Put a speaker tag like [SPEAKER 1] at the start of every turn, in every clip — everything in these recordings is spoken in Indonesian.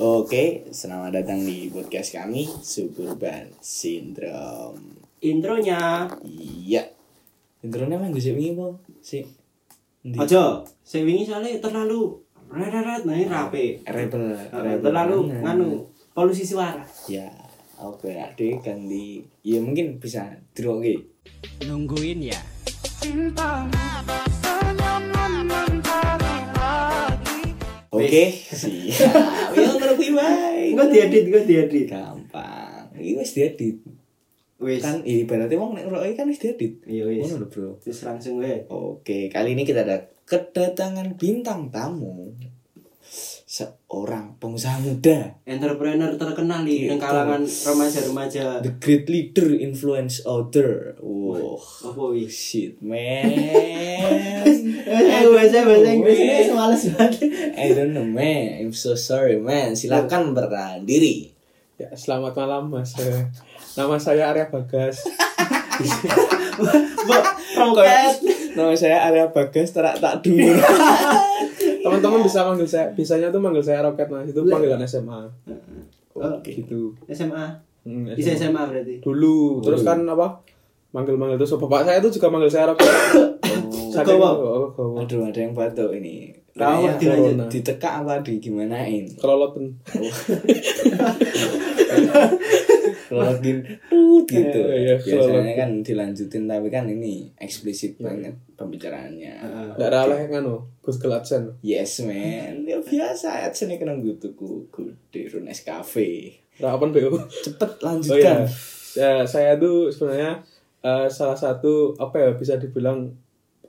[SPEAKER 1] Oke, selamat datang di podcast kami Suburban Syndrome.
[SPEAKER 2] Intronya.
[SPEAKER 1] Iya. Intronya mah gue sih wingi, Bang. Si. Ndi?
[SPEAKER 2] Ojo, saya wingi soalnya terlalu reret nah ini rapi.
[SPEAKER 1] Rebel.
[SPEAKER 2] Eh,
[SPEAKER 1] rebel
[SPEAKER 2] Terlalu
[SPEAKER 1] banget.
[SPEAKER 2] nganu polusi suara.
[SPEAKER 1] Ya, oke ade kan di ya mungkin bisa droge.
[SPEAKER 2] Nungguin ya.
[SPEAKER 1] Oke, siap. Iya, Yo terlebih baik.
[SPEAKER 2] Gue diedit, gue diedit.
[SPEAKER 1] Kan- Gampang. Ini wis diedit.
[SPEAKER 2] Wis.
[SPEAKER 1] Kan ibaratnya wong nek ngroki kan wis diedit.
[SPEAKER 2] Iya wis.
[SPEAKER 1] Ngono lho, Bro.
[SPEAKER 2] Terus langsung gue.
[SPEAKER 1] Oke, kali ini kita ada kedatangan bintang tamu seorang pengusaha muda,
[SPEAKER 2] Entrepreneur terkenal di
[SPEAKER 1] Gitu.
[SPEAKER 2] gitu. kalangan remaja-remaja.
[SPEAKER 1] the great leader influence author. Wow,
[SPEAKER 2] Apa wis?
[SPEAKER 1] shit man.
[SPEAKER 2] Eh, bahasa bahasa
[SPEAKER 1] Wis.
[SPEAKER 2] Inggrisnya semales banget.
[SPEAKER 1] I don't know man, I'm so sorry man. Silakan bertahan diri.
[SPEAKER 3] Ya, selamat malam Mas. Eh, Nama saya Arya Bagas.
[SPEAKER 2] Mbok, roket.
[SPEAKER 1] Nama saya Arya Bagas terak tak dulu.
[SPEAKER 3] Teman-teman bisa manggil saya, bisanya tuh manggil saya Roket Mas. Itu panggilan SMA
[SPEAKER 1] Oh, Oke.
[SPEAKER 3] gitu.
[SPEAKER 2] SMA.
[SPEAKER 3] Hmm,
[SPEAKER 2] Bisa SMA berarti.
[SPEAKER 3] Dulu, terus kan apa? Manggil-manggil terus bapak saya itu juga manggil saya Roket. Saking-
[SPEAKER 2] Gowo.
[SPEAKER 3] oh, gowo.
[SPEAKER 1] Aduh iya, ada yang batuk ini.
[SPEAKER 2] Tahu,
[SPEAKER 1] Kayaknya
[SPEAKER 2] dilanjut.
[SPEAKER 1] corona. ditekak apa digimanain?
[SPEAKER 3] Kelolotan.
[SPEAKER 1] Login tut gitu.
[SPEAKER 3] Iya, iya,
[SPEAKER 1] Biasanya
[SPEAKER 3] login.
[SPEAKER 1] kan dilanjutin tapi kan ini eksplisit banget pembicaraannya.
[SPEAKER 2] Heeh.
[SPEAKER 3] Enggak ada oleh nganu, Google AdSense.
[SPEAKER 1] Yes man, ya biasa adsene kena nggutuku gede Runes Cafe.
[SPEAKER 3] Rapan BO.
[SPEAKER 1] Cepet
[SPEAKER 3] Oh iya.
[SPEAKER 1] lanjutkan.
[SPEAKER 3] Ya, saya tuh sebenarnya eh, salah satu apa ya bisa dibilang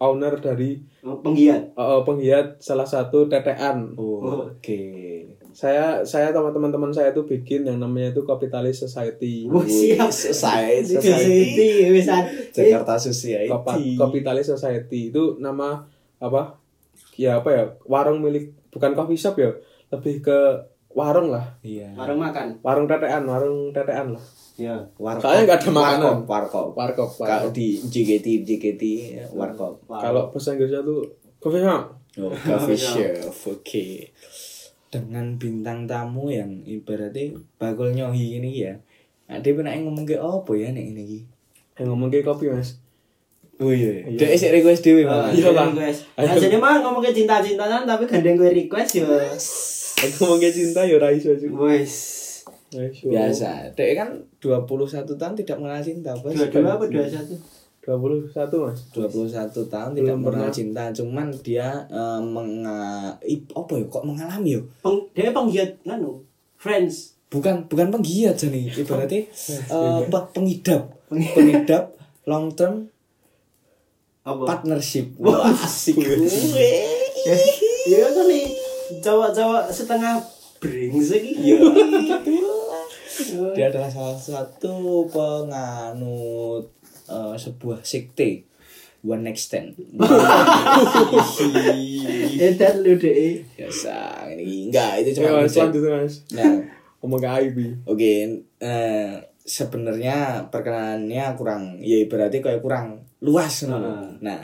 [SPEAKER 3] owner dari
[SPEAKER 2] Penggiat.
[SPEAKER 3] eh, penggiat salah satu tetean
[SPEAKER 1] Oh, Oke.
[SPEAKER 3] saya saya sama teman-teman saya itu bikin yang namanya itu Capitalist Society
[SPEAKER 1] Oh,
[SPEAKER 2] Wah, siap.
[SPEAKER 1] Selesai. Society.
[SPEAKER 2] Society, wis.
[SPEAKER 1] Jakarta Society.
[SPEAKER 3] Kopa- Capitalist Society itu nama apa ya apa ya warung milik bukan coffee shop ya lebih ke warung lah
[SPEAKER 1] Iya.
[SPEAKER 2] Warung makan.
[SPEAKER 3] warung tetean warung tetean lah
[SPEAKER 2] Ya.
[SPEAKER 1] Warkop.
[SPEAKER 3] Soalnya nggak ada makanan.
[SPEAKER 1] Warkop. warkop.
[SPEAKER 3] warkop
[SPEAKER 1] Kalau
[SPEAKER 3] warkop.
[SPEAKER 1] di JKT JKT warkop.
[SPEAKER 3] kalau bahasa Inggrisnya tuh coffee shop
[SPEAKER 1] Oh, coffee shop. Oke. Dengan bintang tamu yang ibaratnya bakul nyohi ini ya. Ada pernah ngomong ke apa ya nek ini iki?
[SPEAKER 3] yang ngomong ke kopi mas
[SPEAKER 1] Oh iya.
[SPEAKER 3] Iya.
[SPEAKER 1] Dek sik request dhewe
[SPEAKER 2] Ah,
[SPEAKER 1] malah.
[SPEAKER 3] Iya, Bang.
[SPEAKER 2] request.
[SPEAKER 3] Ayo.
[SPEAKER 2] Nah, jadi mah ngomong ke cinta-cintaan tapi gandeng gue request ya.
[SPEAKER 3] yang ngomong ke cinta ya raiso juga
[SPEAKER 2] Wes.
[SPEAKER 1] Biasa. Dek kan 21 tahun tidak mengenal cinta, Bos.
[SPEAKER 2] Dua dua apa dua satu?
[SPEAKER 3] 21 mas
[SPEAKER 1] 21 tahun tidak
[SPEAKER 3] Belum
[SPEAKER 1] pernah
[SPEAKER 3] pernah.
[SPEAKER 1] cinta, cuman dia eh, menga ih, apa ya kok mengalami ya?
[SPEAKER 2] Peng, dia penggiat nganu. Friends.
[SPEAKER 1] Bukan bukan penggiat jane, ibaratnya eh, pe- pengidap. Pengidap long term
[SPEAKER 2] Apa?
[SPEAKER 1] partnership. Wah, asik.
[SPEAKER 2] Iya kan nih. Cowok-cowok setengah brengsek
[SPEAKER 3] Iya.
[SPEAKER 2] iki.
[SPEAKER 1] Dia adalah salah satu penganut eh, sebuah sekte One Next Stand.
[SPEAKER 2] Edan Eh, lu deh.
[SPEAKER 1] Biasa ini enggak itu
[SPEAKER 3] ya
[SPEAKER 1] Iya, cuma
[SPEAKER 3] mas
[SPEAKER 1] ngecek.
[SPEAKER 3] selanjutnya mas
[SPEAKER 1] Nah,
[SPEAKER 3] ngomong ke IB
[SPEAKER 1] oke eh, sebenarnya perkenalannya kurang ya berarti kayak kurang luas
[SPEAKER 2] Nah.
[SPEAKER 1] nah. nah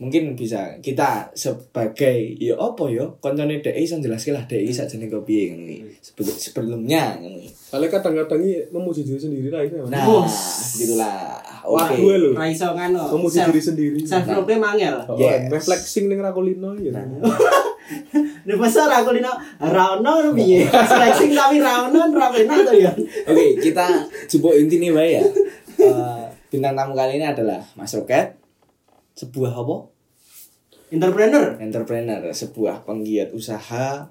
[SPEAKER 1] mungkin bisa kita sebagai ya apa ya koncone DI iso jelaske lah DI sakjane kok piye ngono iki. Sebelum- sebelumnya ngono iki.
[SPEAKER 3] soalnya kadang-kadang ini memuji diri sendiri lah ini mas
[SPEAKER 1] Nah,
[SPEAKER 2] Bos.
[SPEAKER 1] gitulah.
[SPEAKER 3] wah
[SPEAKER 1] Oke.
[SPEAKER 3] gue loh
[SPEAKER 2] Raiso nganu.
[SPEAKER 3] memuji
[SPEAKER 2] Self,
[SPEAKER 3] diri sendiri
[SPEAKER 2] self proclaim angel.
[SPEAKER 3] Oh,
[SPEAKER 1] Yes. Nah.
[SPEAKER 3] reflexing ning Rakulino ya.
[SPEAKER 2] Lu besar aku lino rauno lu piye?
[SPEAKER 3] Oh.
[SPEAKER 2] Flexing tapi rauno ra penak to ya.
[SPEAKER 1] Oke, kita jumbo inti nih, Mbak ya. Eh, bintang tamu kali ini adalah Mas Roket, sebuah apa?
[SPEAKER 2] Entrepreneur.
[SPEAKER 1] Entrepreneur, sebuah penggiat usaha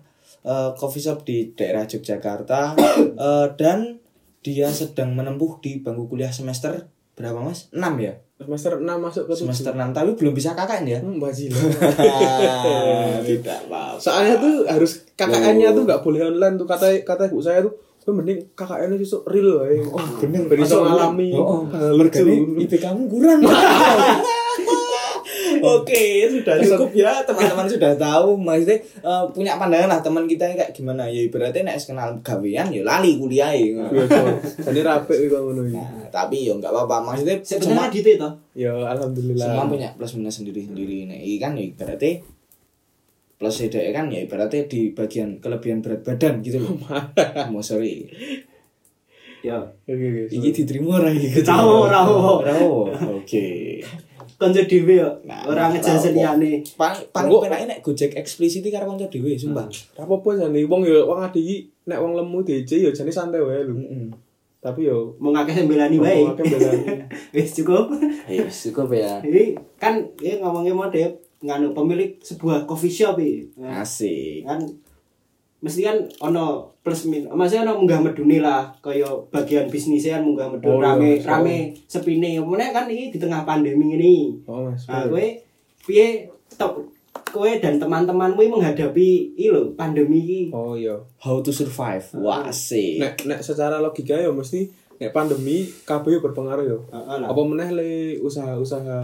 [SPEAKER 1] eh, coffee shop di daerah Yogyakarta Eh, dan dia sedang menempuh di bangku kuliah semester berapa Mas? 6 ya?
[SPEAKER 3] Semester 6 masuk ke
[SPEAKER 1] Semester 6 tapi belum bisa KKN ya?
[SPEAKER 3] Hmm, bajil.
[SPEAKER 1] Ah, Tidak apa-apa.
[SPEAKER 3] Soalnya tuh harus
[SPEAKER 1] Nah.
[SPEAKER 3] KKN-nya tuh nggak boleh online tuh kata kata ibu saya tuh "Wah, mending KKN-nya justru real ya.
[SPEAKER 1] Oh, bener
[SPEAKER 3] Beri
[SPEAKER 1] Masuk
[SPEAKER 3] sama
[SPEAKER 1] ulang.
[SPEAKER 3] alami.
[SPEAKER 1] Oh, oh, lucu. IP kamu kurang. Oke, sudah cukup ya teman-teman sudah tahu maksudnya eh, punya pandangan lah teman kita ini kayak gimana ya berarti nek kenal gawean ya lali kuliah ya.
[SPEAKER 3] Jadi rapi itu ngono iki.
[SPEAKER 1] Nah, tapi ya nggak apa-apa maksudnya semua
[SPEAKER 2] Sebenarnya gitu itu.
[SPEAKER 3] Ya alhamdulillah.
[SPEAKER 1] Nah, semua punya plus minus sendiri-sendiri nek iki kan ya berarti plus DE kan ya ibaratnya di bagian kelebihan berat badan gitu loh. Mau sorry.
[SPEAKER 2] Ya.
[SPEAKER 3] Oke oke.
[SPEAKER 1] Iki diterima ora iki?
[SPEAKER 2] Tahu, ora.
[SPEAKER 1] Ora. Oke.
[SPEAKER 2] Kanca dhewe yo.
[SPEAKER 1] Nah,
[SPEAKER 2] Ora ngejelasin
[SPEAKER 1] ora apa.
[SPEAKER 2] liyane.
[SPEAKER 1] Paling paling
[SPEAKER 3] Engko-
[SPEAKER 1] penake nek Gojek eksplisit iki karo kanca dhewe sumpah.
[SPEAKER 3] Apa-apa jane wong ya wong ade iki nek wong lemu DJ ya jane santai wae lho.
[SPEAKER 1] Heeh.
[SPEAKER 3] Tapi yo
[SPEAKER 2] Mau ngakeh sembelani wae.
[SPEAKER 3] Ngomong akeh sembelani.
[SPEAKER 2] Wis cukup.
[SPEAKER 1] Ya cukup ya.
[SPEAKER 2] Ini kan ini ngomongnya model nganu pemilik sebuah coffee shop iki.
[SPEAKER 3] Ah.
[SPEAKER 2] Nah,
[SPEAKER 1] Asik.
[SPEAKER 2] kan mesti kan ono plus min maksudnya ono munggah medune lah kaya bagian bisnisnya kan munggah medun
[SPEAKER 3] Oh, iya,
[SPEAKER 2] rame
[SPEAKER 3] iya.
[SPEAKER 2] rame sepine mulai kan ini di tengah pandemi ini
[SPEAKER 3] Oh Mas.
[SPEAKER 2] nah kowe piye tok kowe dan teman-temanmu ini menghadapi iki lho pandemi ini
[SPEAKER 3] Oh iya.
[SPEAKER 1] How to survive. Wah, asik.
[SPEAKER 3] Nek nek secara logika ya mesti nek pandemi kabeh yo berpengaruh yo.
[SPEAKER 2] Heeh lah.
[SPEAKER 3] Apa meneh le usaha-usaha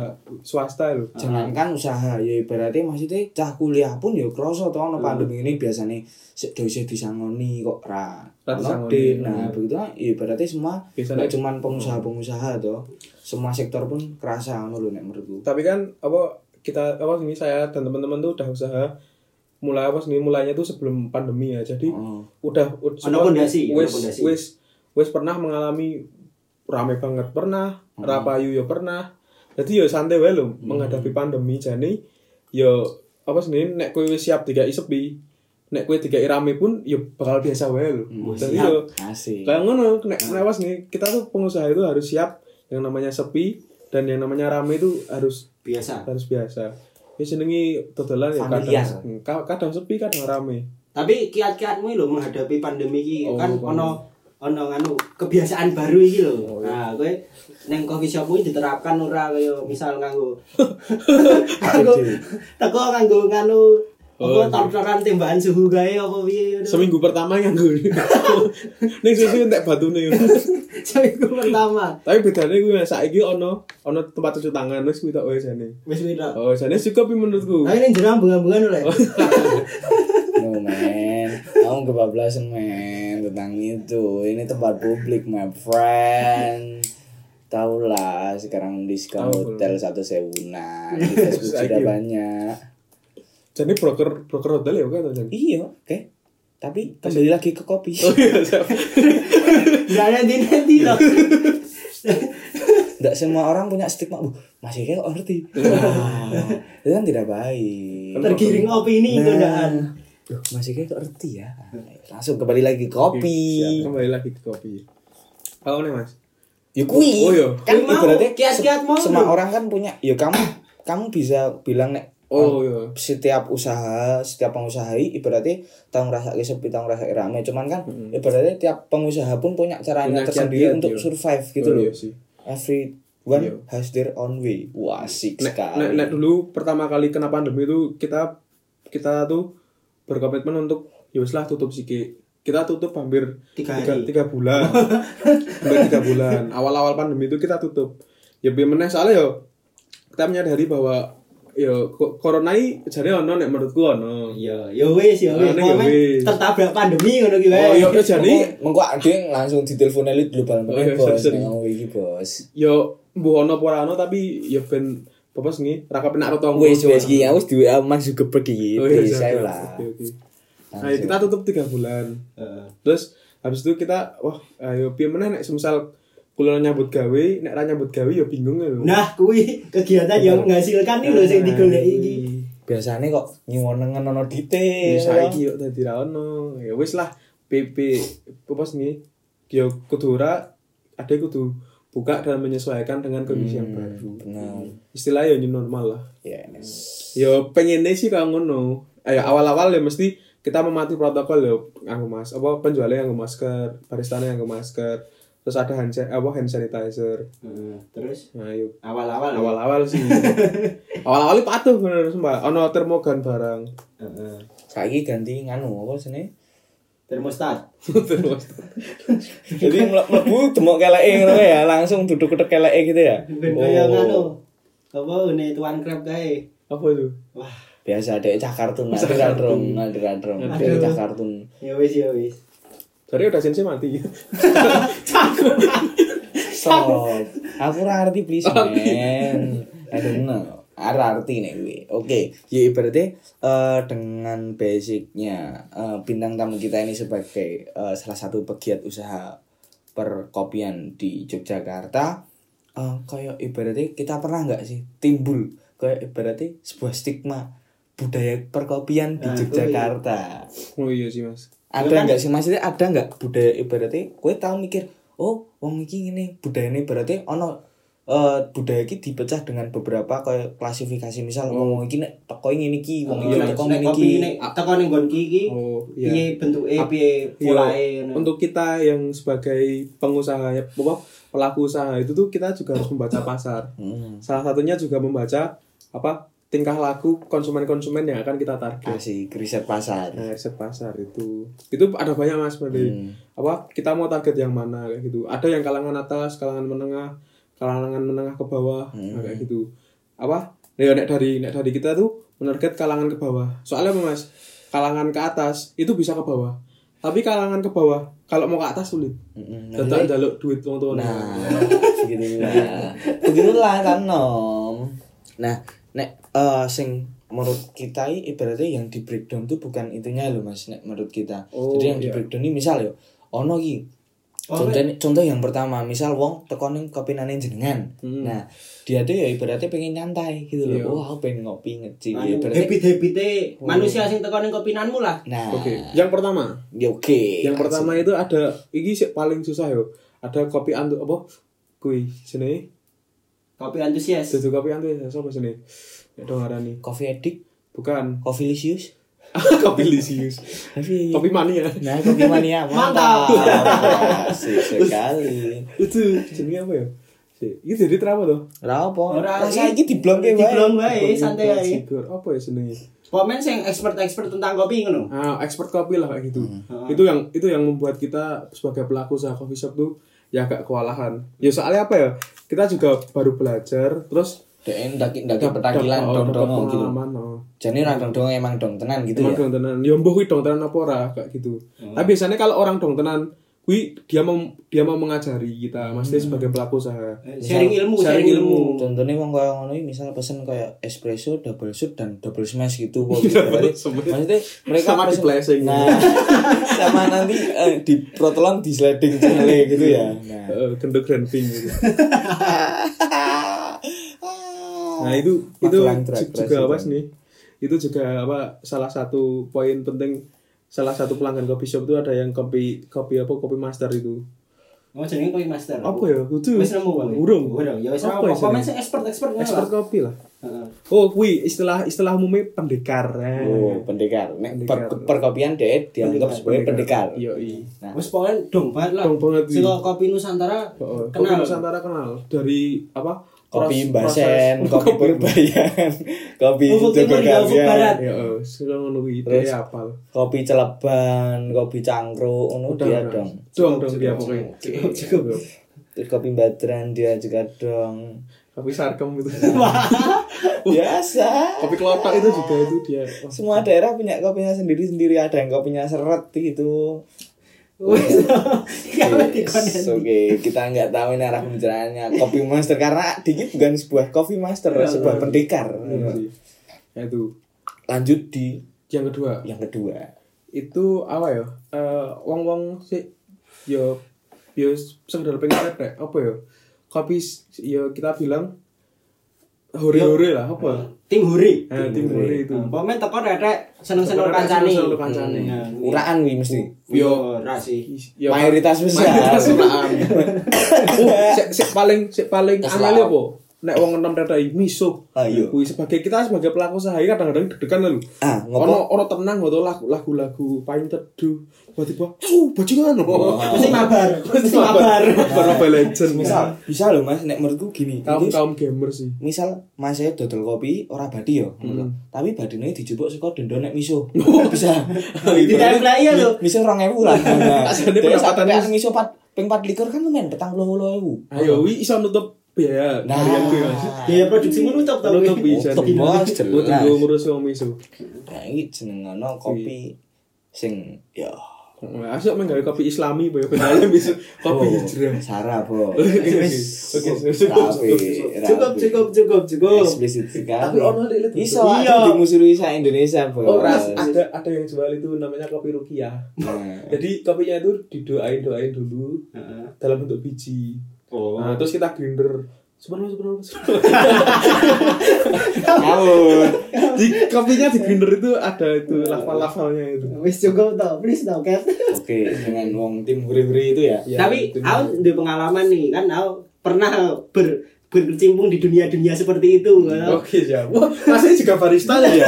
[SPEAKER 3] swasta lho.
[SPEAKER 1] jangankan usaha ya berarti maksudnya cah kuliah pun ya kroso to ono pandemi ini biasanya sik do isih disangoni kok ra
[SPEAKER 3] Ra
[SPEAKER 1] ono
[SPEAKER 3] disangoni. hmm.
[SPEAKER 1] di- nah begitu lah, ya berarti semua
[SPEAKER 3] Biasanya-
[SPEAKER 1] nggak cuman pengusaha-pengusaha to semua sektor pun kerasa ono lho nek menurutku
[SPEAKER 3] Tapi kan apa kita apa ini saya dan teman-teman tuh udah usaha mulai apa sini mulainya tuh sebelum pandemi ya. Jadi
[SPEAKER 1] oh.
[SPEAKER 3] udah ud-
[SPEAKER 2] Ada pondasi, ada
[SPEAKER 3] wis
[SPEAKER 2] pondasi.
[SPEAKER 3] wis wis pernah mengalami rame banget pernah
[SPEAKER 1] Hmm.
[SPEAKER 3] rapayu yo pernah jadi yo santai wae lho menghadapi pandemi jane yo apa sendiri nek kowe wis siap tiga sepi nek kowe tiga rame pun yo bakal biasa wae lho
[SPEAKER 1] Hmm,
[SPEAKER 3] jadi
[SPEAKER 2] siap.
[SPEAKER 3] yo
[SPEAKER 1] asik
[SPEAKER 3] kayak ngono nek nek pas nih kita tuh pengusaha itu harus siap yang namanya sepi dan yang namanya rame itu harus
[SPEAKER 2] biasa
[SPEAKER 3] harus biasa ya senengi dodolan ya
[SPEAKER 1] Familiar.
[SPEAKER 3] kadang, ka- kadang sepi kadang rame
[SPEAKER 2] tapi kiat-kiatmu lho menghadapi pandemi iki
[SPEAKER 3] Oh,
[SPEAKER 2] kan
[SPEAKER 3] pandemi.
[SPEAKER 2] ono ono anu kebiasaan baru iki lho.
[SPEAKER 3] Oh,
[SPEAKER 2] Nah, kowe neng coffee shopmu iki diterapkan ora kaya misal nganggo nganggo teko nganggo nganu apa
[SPEAKER 3] Oh,
[SPEAKER 2] tor-toran tembakan suhu gae apa piye ngono.
[SPEAKER 3] seminggu pertama yang gue neng susu entek batu nih
[SPEAKER 2] Seminggu pertama.
[SPEAKER 3] tapi bedanya gue nggak saiki ono ono tempat cuci tangan wis gue tak wes jane
[SPEAKER 2] Wis pira?
[SPEAKER 3] oh jane cukup sih menurutku
[SPEAKER 2] Tapi ning jero bunga-bungan lho.
[SPEAKER 1] no man kamu kebablasan men tentang itu ini tempat publik my friend Taulah sekarang diskon
[SPEAKER 3] Tahu.
[SPEAKER 1] hotel satu sewunan di Facebook sudah
[SPEAKER 3] Saiki.
[SPEAKER 1] banyak
[SPEAKER 3] jane broker broker hotel ya kan jane
[SPEAKER 1] Iya, oke. Tapi kembali lagi ke kopi.
[SPEAKER 3] Oh, iya.
[SPEAKER 2] Jangan nanti-nanti lho.
[SPEAKER 1] Enggak semua orang punya stigma. Uh, masih kayak ngerti.
[SPEAKER 3] Iya.
[SPEAKER 1] Wah, itu kan tidak baik.
[SPEAKER 2] Tergiring opini itu
[SPEAKER 1] Nah,
[SPEAKER 2] ndaan.
[SPEAKER 1] duh, masih kayak ngerti ya. Langsung kembali lagi ke kopi.
[SPEAKER 3] Iya, Siap, kembali lagi ke kopi apa nih mas
[SPEAKER 1] Ya kui.
[SPEAKER 3] Oh, iya.
[SPEAKER 1] Kan
[SPEAKER 2] Kui mau,
[SPEAKER 1] ibaratnya se-
[SPEAKER 2] kiat-kiat mau
[SPEAKER 1] semua
[SPEAKER 2] dong.
[SPEAKER 1] orang kan punya. Ya kamu kamu bisa bilang nek um,
[SPEAKER 3] oh iya
[SPEAKER 1] setiap usaha setiap pengusaha i- ibaratnya tahun rasa sepi tahun rasa rame cuman kan ibaratnya tiap pengusaha pun punya caranya
[SPEAKER 3] Hmm. Punya
[SPEAKER 1] tersendiri
[SPEAKER 3] kiat-kiat,
[SPEAKER 1] untuk
[SPEAKER 3] iya.
[SPEAKER 1] survive gitu
[SPEAKER 3] Oh,
[SPEAKER 1] loh
[SPEAKER 3] iya sih.
[SPEAKER 1] everyone
[SPEAKER 3] Iya.
[SPEAKER 1] has their own way wah asik
[SPEAKER 3] Nek,
[SPEAKER 1] sekali
[SPEAKER 3] nek, nek dulu pertama kali kena pandemi itu kita kita tuh berkomitmen untuk ya wis lah tutup siki. Kita tutup hampir
[SPEAKER 2] Tiga hari.
[SPEAKER 3] tiga bulan. hampir tiga bulan. Awal-awal pandemi itu kita tutup. Ya biar meneh soalnya yo kita menyadari bahwa yo ko- corona ini jadi ono nek menurutku ono.
[SPEAKER 2] Iya, ya wis ya wis.
[SPEAKER 3] Nah, ini ya
[SPEAKER 2] Momen
[SPEAKER 3] wis.
[SPEAKER 2] tertabrak pandemi ngono ki wae.
[SPEAKER 3] Oh, yo, yo jadi
[SPEAKER 1] mengko ade langsung ditelepon elit dulu bareng
[SPEAKER 3] Oh, iya,
[SPEAKER 1] bos
[SPEAKER 3] sorry, sorry.
[SPEAKER 1] ngomong iki bos
[SPEAKER 3] yo mbuh ono apa ora ono tapi yo ben apa sih raka penak rotong.
[SPEAKER 1] wes wes iki ya wes duwe aman juga pergi
[SPEAKER 3] Oh, iya,
[SPEAKER 1] wis
[SPEAKER 3] siap,
[SPEAKER 1] ayo
[SPEAKER 3] siap.
[SPEAKER 1] lah
[SPEAKER 3] Oke, oke. Nah, kita tutup tiga bulan.
[SPEAKER 2] Heeh.
[SPEAKER 3] Terus habis itu kita wah ayo piye meneh nek semisal kula nyambut gawe, nek ra nyambut gawe ya bingung ya lho.
[SPEAKER 2] Nah, kuwi kegiatan yang menghasilkan nih lho sing digolek iki. Eh,
[SPEAKER 1] biasanya kok nyuwun nengen ono detail
[SPEAKER 3] Ya saiki yo dadi ra ono. Ya wis lah PP apa sih yo kudu ora ada kudu buka dan menyesuaikan dengan kondisi
[SPEAKER 2] Hmm.
[SPEAKER 3] yang baru.
[SPEAKER 1] benar
[SPEAKER 3] Istilah yo new normal lah.
[SPEAKER 1] yes
[SPEAKER 3] Yo pengennya sih kalau ngono. Ayo awal-awal ya mesti kita mematuhi protokol yo nganggo mas apa penjualnya nganggo masker, baristanya nganggo masker, terus ada hand sa- apa hand sanitizer.
[SPEAKER 2] Heeh, nah, Terus
[SPEAKER 3] Nah, yuk
[SPEAKER 2] awal-awal ya?
[SPEAKER 3] awal-awal sih awal-awal ini patuh bener sumpah ono termogan barang
[SPEAKER 2] Heeh.
[SPEAKER 1] saiki ganti nganu apa sini
[SPEAKER 2] Termostat.
[SPEAKER 3] terus
[SPEAKER 1] jadi mle- mlebu demok keleke ngono ya langsung duduk ketek keleke gitu ya Oh.
[SPEAKER 2] Ben kaya ngono. anu, Apa une tuan krep kae.
[SPEAKER 3] apa itu
[SPEAKER 2] Wah,
[SPEAKER 1] biasa ada cah kartun ada random ada random ada cah kartun
[SPEAKER 2] ya wis ya wis.
[SPEAKER 3] jadi udah sensei mati
[SPEAKER 1] Stop. Aku ora ngerti please, men. I don't know. Ada arti nih gue. Oke, ya ibaratnya eh, dengan basicnya eh, bintang tamu kita ini sebagai eh, salah satu pegiat usaha perkopian di Yogyakarta, eh kayak ibaratnya kita pernah nggak sih timbul kayak ibaratnya sebuah stigma budaya perkopian di
[SPEAKER 2] Nah, itu iya.
[SPEAKER 1] Yogyakarta.
[SPEAKER 3] Oh iya sih mas.
[SPEAKER 1] Ada
[SPEAKER 2] Ya kan?
[SPEAKER 1] nggak sih maksudnya ada nggak budaya ibaratnya kowe tahu mikir, oh wong iki ngene, budayane berarti ono eh budaya iki dipecah dengan beberapa kayak klasifikasi misal wong iki nek teko ngene iki, wong iki
[SPEAKER 3] Iya,
[SPEAKER 1] teko
[SPEAKER 2] Oh, Hmm. nek
[SPEAKER 1] ngene
[SPEAKER 2] kopi
[SPEAKER 1] iki.
[SPEAKER 2] nek teko ning nggon ki iki
[SPEAKER 3] Oh
[SPEAKER 2] piye
[SPEAKER 3] iya.
[SPEAKER 2] bentuke piye
[SPEAKER 3] Iya,
[SPEAKER 2] polae ngono.
[SPEAKER 3] Untuk kita yang sebagai pengusaha ya, apa, pelaku usaha itu tuh kita juga harus membaca pasar.
[SPEAKER 1] Hmm.
[SPEAKER 3] Salah satunya juga membaca apa tingkah laku konsumen-konsumen yang akan kita target.
[SPEAKER 1] Kasih riset pasar.
[SPEAKER 3] Nah, riset pasar itu itu ada banyak mas berarti
[SPEAKER 1] Hmm.
[SPEAKER 3] apa kita mau target yang mana kayak gitu ada yang kalangan atas kalangan menengah kalangan menengah ke bawah
[SPEAKER 1] Hmm.
[SPEAKER 3] nah, kayak gitu apa ya nek dari nek dari kita tuh menarget kalangan ke bawah soalnya apa mas kalangan ke atas itu bisa ke bawah tapi kalangan ke bawah kalau mau ke atas sulit
[SPEAKER 1] Hmm. Nah,
[SPEAKER 3] tetap jaluk duit wong tuane.
[SPEAKER 1] Nah, begitulah. begitulah kan nom. Nah, nek eh sing menurut kita i- ibaratnya yang di breakdown tuh bukan itunya loh Mas, nek menurut kita.
[SPEAKER 3] Oh,
[SPEAKER 1] Jadi yang di
[SPEAKER 3] iya. ya?
[SPEAKER 1] breakdown ini misal yo ono iki.
[SPEAKER 2] Oh,
[SPEAKER 1] contoh, contoh yang pertama, misal wong teko ning kopinane jenengan.
[SPEAKER 3] Hmm.
[SPEAKER 1] Nah, dia tuh ya ibaratnya pengen nyantai gitu
[SPEAKER 3] Iya.
[SPEAKER 1] loh. Wah, aku pengen ngopi ngeci ya,
[SPEAKER 2] Anu,
[SPEAKER 1] ibaratnya.
[SPEAKER 2] habit-habite manusia sing teko ning kopinanmu lah.
[SPEAKER 1] Nah,
[SPEAKER 3] oke yang pertama
[SPEAKER 1] ya oke.
[SPEAKER 3] yang pertama itu ada iki sih paling susah yo ada kopi antu apa kui sini
[SPEAKER 2] Kopi antusias.
[SPEAKER 3] Dudu kopi antu ya sapa sini ya dong arani
[SPEAKER 1] coffee addict,
[SPEAKER 3] bukan
[SPEAKER 1] coffee licious.
[SPEAKER 3] kopi lisius kopi ya. mania
[SPEAKER 1] Nah, kopi mania mantap. Asik sekali.
[SPEAKER 3] itu jenenge apa ya Si, Iki jadi terapa tuh?
[SPEAKER 1] Lah opo?
[SPEAKER 2] Ora,
[SPEAKER 1] Rasa iki diblongke wae.
[SPEAKER 2] Diblong wae
[SPEAKER 1] iya,
[SPEAKER 2] santai ae.
[SPEAKER 3] Kopi Sigur, apa ya senengnya?
[SPEAKER 2] Komen sing expert-expert tentang kopi ngono.
[SPEAKER 3] Ah, expert kopi lah kayak gitu.
[SPEAKER 1] Hmm.
[SPEAKER 3] Itu yang itu yang membuat kita sebagai pelaku usaha coffee shop tuh ya agak kewalahan. Ya soalnya apa ya? Kita juga baru belajar, terus
[SPEAKER 1] Dek ndaki ndaki petakilan
[SPEAKER 3] dapat- dapat
[SPEAKER 1] dong-dong gitu.
[SPEAKER 3] pengalaman, oh.
[SPEAKER 1] Jane ora dong emang dong tenan gitu
[SPEAKER 3] Emang
[SPEAKER 1] ya.
[SPEAKER 3] dong tenan. Ya mbuh kuwi dong tenan apa ora kayak gitu.
[SPEAKER 1] Hmm.
[SPEAKER 3] Tapi biasanya kalau orang dong tenan kuwi dia mau dia mau mengajari kita, maksudnya
[SPEAKER 1] Hmm.
[SPEAKER 3] sebagai pelaku usaha.
[SPEAKER 1] Iya,
[SPEAKER 2] Eh, Sharing ilmu,
[SPEAKER 3] Sharing
[SPEAKER 2] sharing ilmu.
[SPEAKER 1] Contohnya wong kaya ngono iki misal pesen kaya espresso double shot dan double smash gitu kok.
[SPEAKER 3] Double
[SPEAKER 1] Berarti-
[SPEAKER 3] smash.
[SPEAKER 1] Maksudnya mereka
[SPEAKER 3] Sama
[SPEAKER 1] pesen-
[SPEAKER 3] diblessing.
[SPEAKER 1] Nah, sama nanti eh, di protolan di sliding channel gitu ya. Nah.
[SPEAKER 3] Eh, gendut grinding gitu. Nah itu itu
[SPEAKER 1] Magelang Drag
[SPEAKER 3] ju-
[SPEAKER 1] Race
[SPEAKER 3] juga
[SPEAKER 1] itu.
[SPEAKER 3] apa nih? Itu juga apa salah satu poin penting salah satu pelanggan kopi shop itu ada yang kopi kopi apa kopi master itu.
[SPEAKER 2] Oh, jenenge kopi master.
[SPEAKER 3] Apa ya? Kudu.
[SPEAKER 2] Wis nemu kowe.
[SPEAKER 3] Urung.
[SPEAKER 2] Urung. Ya wis
[SPEAKER 3] Apa
[SPEAKER 2] apa.
[SPEAKER 3] ya
[SPEAKER 2] Komen
[SPEAKER 3] jenenge?
[SPEAKER 2] sing expert-expert
[SPEAKER 1] Iya.
[SPEAKER 2] ngono.
[SPEAKER 3] Expert
[SPEAKER 2] lah.
[SPEAKER 3] kopi lah.
[SPEAKER 2] Heeh.
[SPEAKER 3] Oh, kui istilah istilah umumnya pendekar. Nah.
[SPEAKER 1] Oh, pendekar. Nek per-
[SPEAKER 3] Pendekar. Iya.
[SPEAKER 1] perkopian dia dianggap sebagai pendekar.
[SPEAKER 3] Yoi.
[SPEAKER 2] Wis pokoke kan dong banget lah.
[SPEAKER 3] Dong banget,
[SPEAKER 2] Sing
[SPEAKER 3] iya.
[SPEAKER 2] kopi Nusantara
[SPEAKER 3] Oh, kopi
[SPEAKER 2] kenal.
[SPEAKER 3] Nusantara kenal dari apa?
[SPEAKER 1] kopi
[SPEAKER 3] proses-
[SPEAKER 1] Mbasen, kopi Purbayan, kopi
[SPEAKER 2] Ufuk Timur juga, Ufuk
[SPEAKER 1] Jogokarian,
[SPEAKER 2] Barat.
[SPEAKER 3] Ya, oh, sudah ngono kuwi
[SPEAKER 1] Terus-
[SPEAKER 3] dia apal.
[SPEAKER 1] kopi Celeban, kopi Cangkruk, ngono dia dong.
[SPEAKER 3] Dong dong dia pokoknya.
[SPEAKER 2] Cukup, cukup.
[SPEAKER 1] Terus kopi Badran dia juga dong.
[SPEAKER 3] Kopi sarkem gitu.
[SPEAKER 1] Biasa.
[SPEAKER 3] kopi kelotok itu juga itu dia. Wah,
[SPEAKER 1] Semua daerah punya kopinya sendiri-sendiri, ada yang kopinya seret gitu.
[SPEAKER 2] Wis.
[SPEAKER 3] Ya, Oh,
[SPEAKER 2] Kalau
[SPEAKER 3] kan.
[SPEAKER 2] dikonen.
[SPEAKER 1] Yes, Oke, kita nggak tahu ini arah pembicaraannya. Kopi Master karena Diki bukan sebuah kopi master, sebuah pendekar.
[SPEAKER 3] iya sih. Ya itu.
[SPEAKER 1] Lanjut di
[SPEAKER 3] Yang kedua,
[SPEAKER 1] yang kedua.
[SPEAKER 3] itu apa ya Eh, wong wong sih yo yo sekedar pengen rek apa ya kopi s- yo kita bilang hore hore lah apa
[SPEAKER 2] Tim Huri.
[SPEAKER 1] Nah,
[SPEAKER 3] eh, tim hore itu
[SPEAKER 1] Ah.
[SPEAKER 2] Pomen teko retek seneng-seneng kancane.
[SPEAKER 3] Seneng-seneng kancane.
[SPEAKER 1] Uraan wi mesti.
[SPEAKER 2] Yo ra sih.
[SPEAKER 3] Yo,
[SPEAKER 1] Mayoritas ya. besar.
[SPEAKER 3] Iya, mayoritas uraan. Oh, sik- sik paling sik paling amale apa nek wong enom tetai miso
[SPEAKER 1] Ah, iya.
[SPEAKER 3] Kuwi sebagai kita sebagai pelaku usaha ini kadang-kadang deg-degan lho
[SPEAKER 1] Ah, ngopo?
[SPEAKER 3] ono ono tenang ngono lagu- lagu-lagu paling teduh tiba-tiba uh bajingan oh.
[SPEAKER 2] Mesti mabar, mesti mabar.
[SPEAKER 3] Baru Mobile Legends misal.
[SPEAKER 1] misal Nah, bisa loh mas nek menurutku gini
[SPEAKER 3] Kaum
[SPEAKER 1] itu
[SPEAKER 3] kaum gamer sih.
[SPEAKER 1] misal mas saya dodol kopi ora badi yo
[SPEAKER 3] Hmm. Oh,
[SPEAKER 1] tapi badine dijupuk saka denda nek miso Oh, bisa
[SPEAKER 2] Tidak ada iya
[SPEAKER 3] ya,
[SPEAKER 2] lho.
[SPEAKER 1] miso 2000 lah nah
[SPEAKER 3] Aslinya
[SPEAKER 1] Dhewe sak
[SPEAKER 3] pendapatannya-
[SPEAKER 1] pekan miso pat ping 4 likur kan lumayan petang 28.000
[SPEAKER 3] Ayo wi iso nutup biaya
[SPEAKER 1] nah
[SPEAKER 3] harian gue mas.
[SPEAKER 2] Biaya produksi menutup tapi.
[SPEAKER 3] Nutup bisa.
[SPEAKER 1] Nutup, Bos, jelas.
[SPEAKER 3] Buat gue ngurus wong misu.
[SPEAKER 1] nah iki jenengno kopi sing ya
[SPEAKER 3] Asal main gawe kopi Islami boyo kendala bisa
[SPEAKER 1] Bo,
[SPEAKER 3] kopi hijrah.
[SPEAKER 1] Oh, Sarah, Bo.
[SPEAKER 3] Oke, oke, cukup,
[SPEAKER 1] Rapi, rapi.
[SPEAKER 2] cukup cukup cukup cukup
[SPEAKER 1] Eksplisit sekali.
[SPEAKER 3] Tapi ono lek lek-
[SPEAKER 1] Iso
[SPEAKER 2] Iya.
[SPEAKER 1] aku dimusuhi sa Indonesia, Bo.
[SPEAKER 3] Oh, ras, ada ada yang jual itu namanya kopi rukiah.
[SPEAKER 1] Nah.
[SPEAKER 3] Jadi kopinya itu didoain doain dulu
[SPEAKER 2] Heeh.
[SPEAKER 3] dalam bentuk biji.
[SPEAKER 2] oh
[SPEAKER 3] Nah, terus kita grinder. Subhanallah, subhanallah, subhanallah.
[SPEAKER 1] Ngawur.
[SPEAKER 3] Di kopinya di grinder itu ada itu lafal-lafalnya itu.
[SPEAKER 2] wis cukup toh please toh Kat.
[SPEAKER 1] Oke, dengan wong tim huri-huri itu ya.
[SPEAKER 3] Ya,
[SPEAKER 2] tapi
[SPEAKER 3] itu.
[SPEAKER 2] aku udah pengalaman nih kan aku pernah ber berkecimpung di dunia-dunia seperti itu kan?
[SPEAKER 3] Oke, ya. Wah, masih juga barista ya.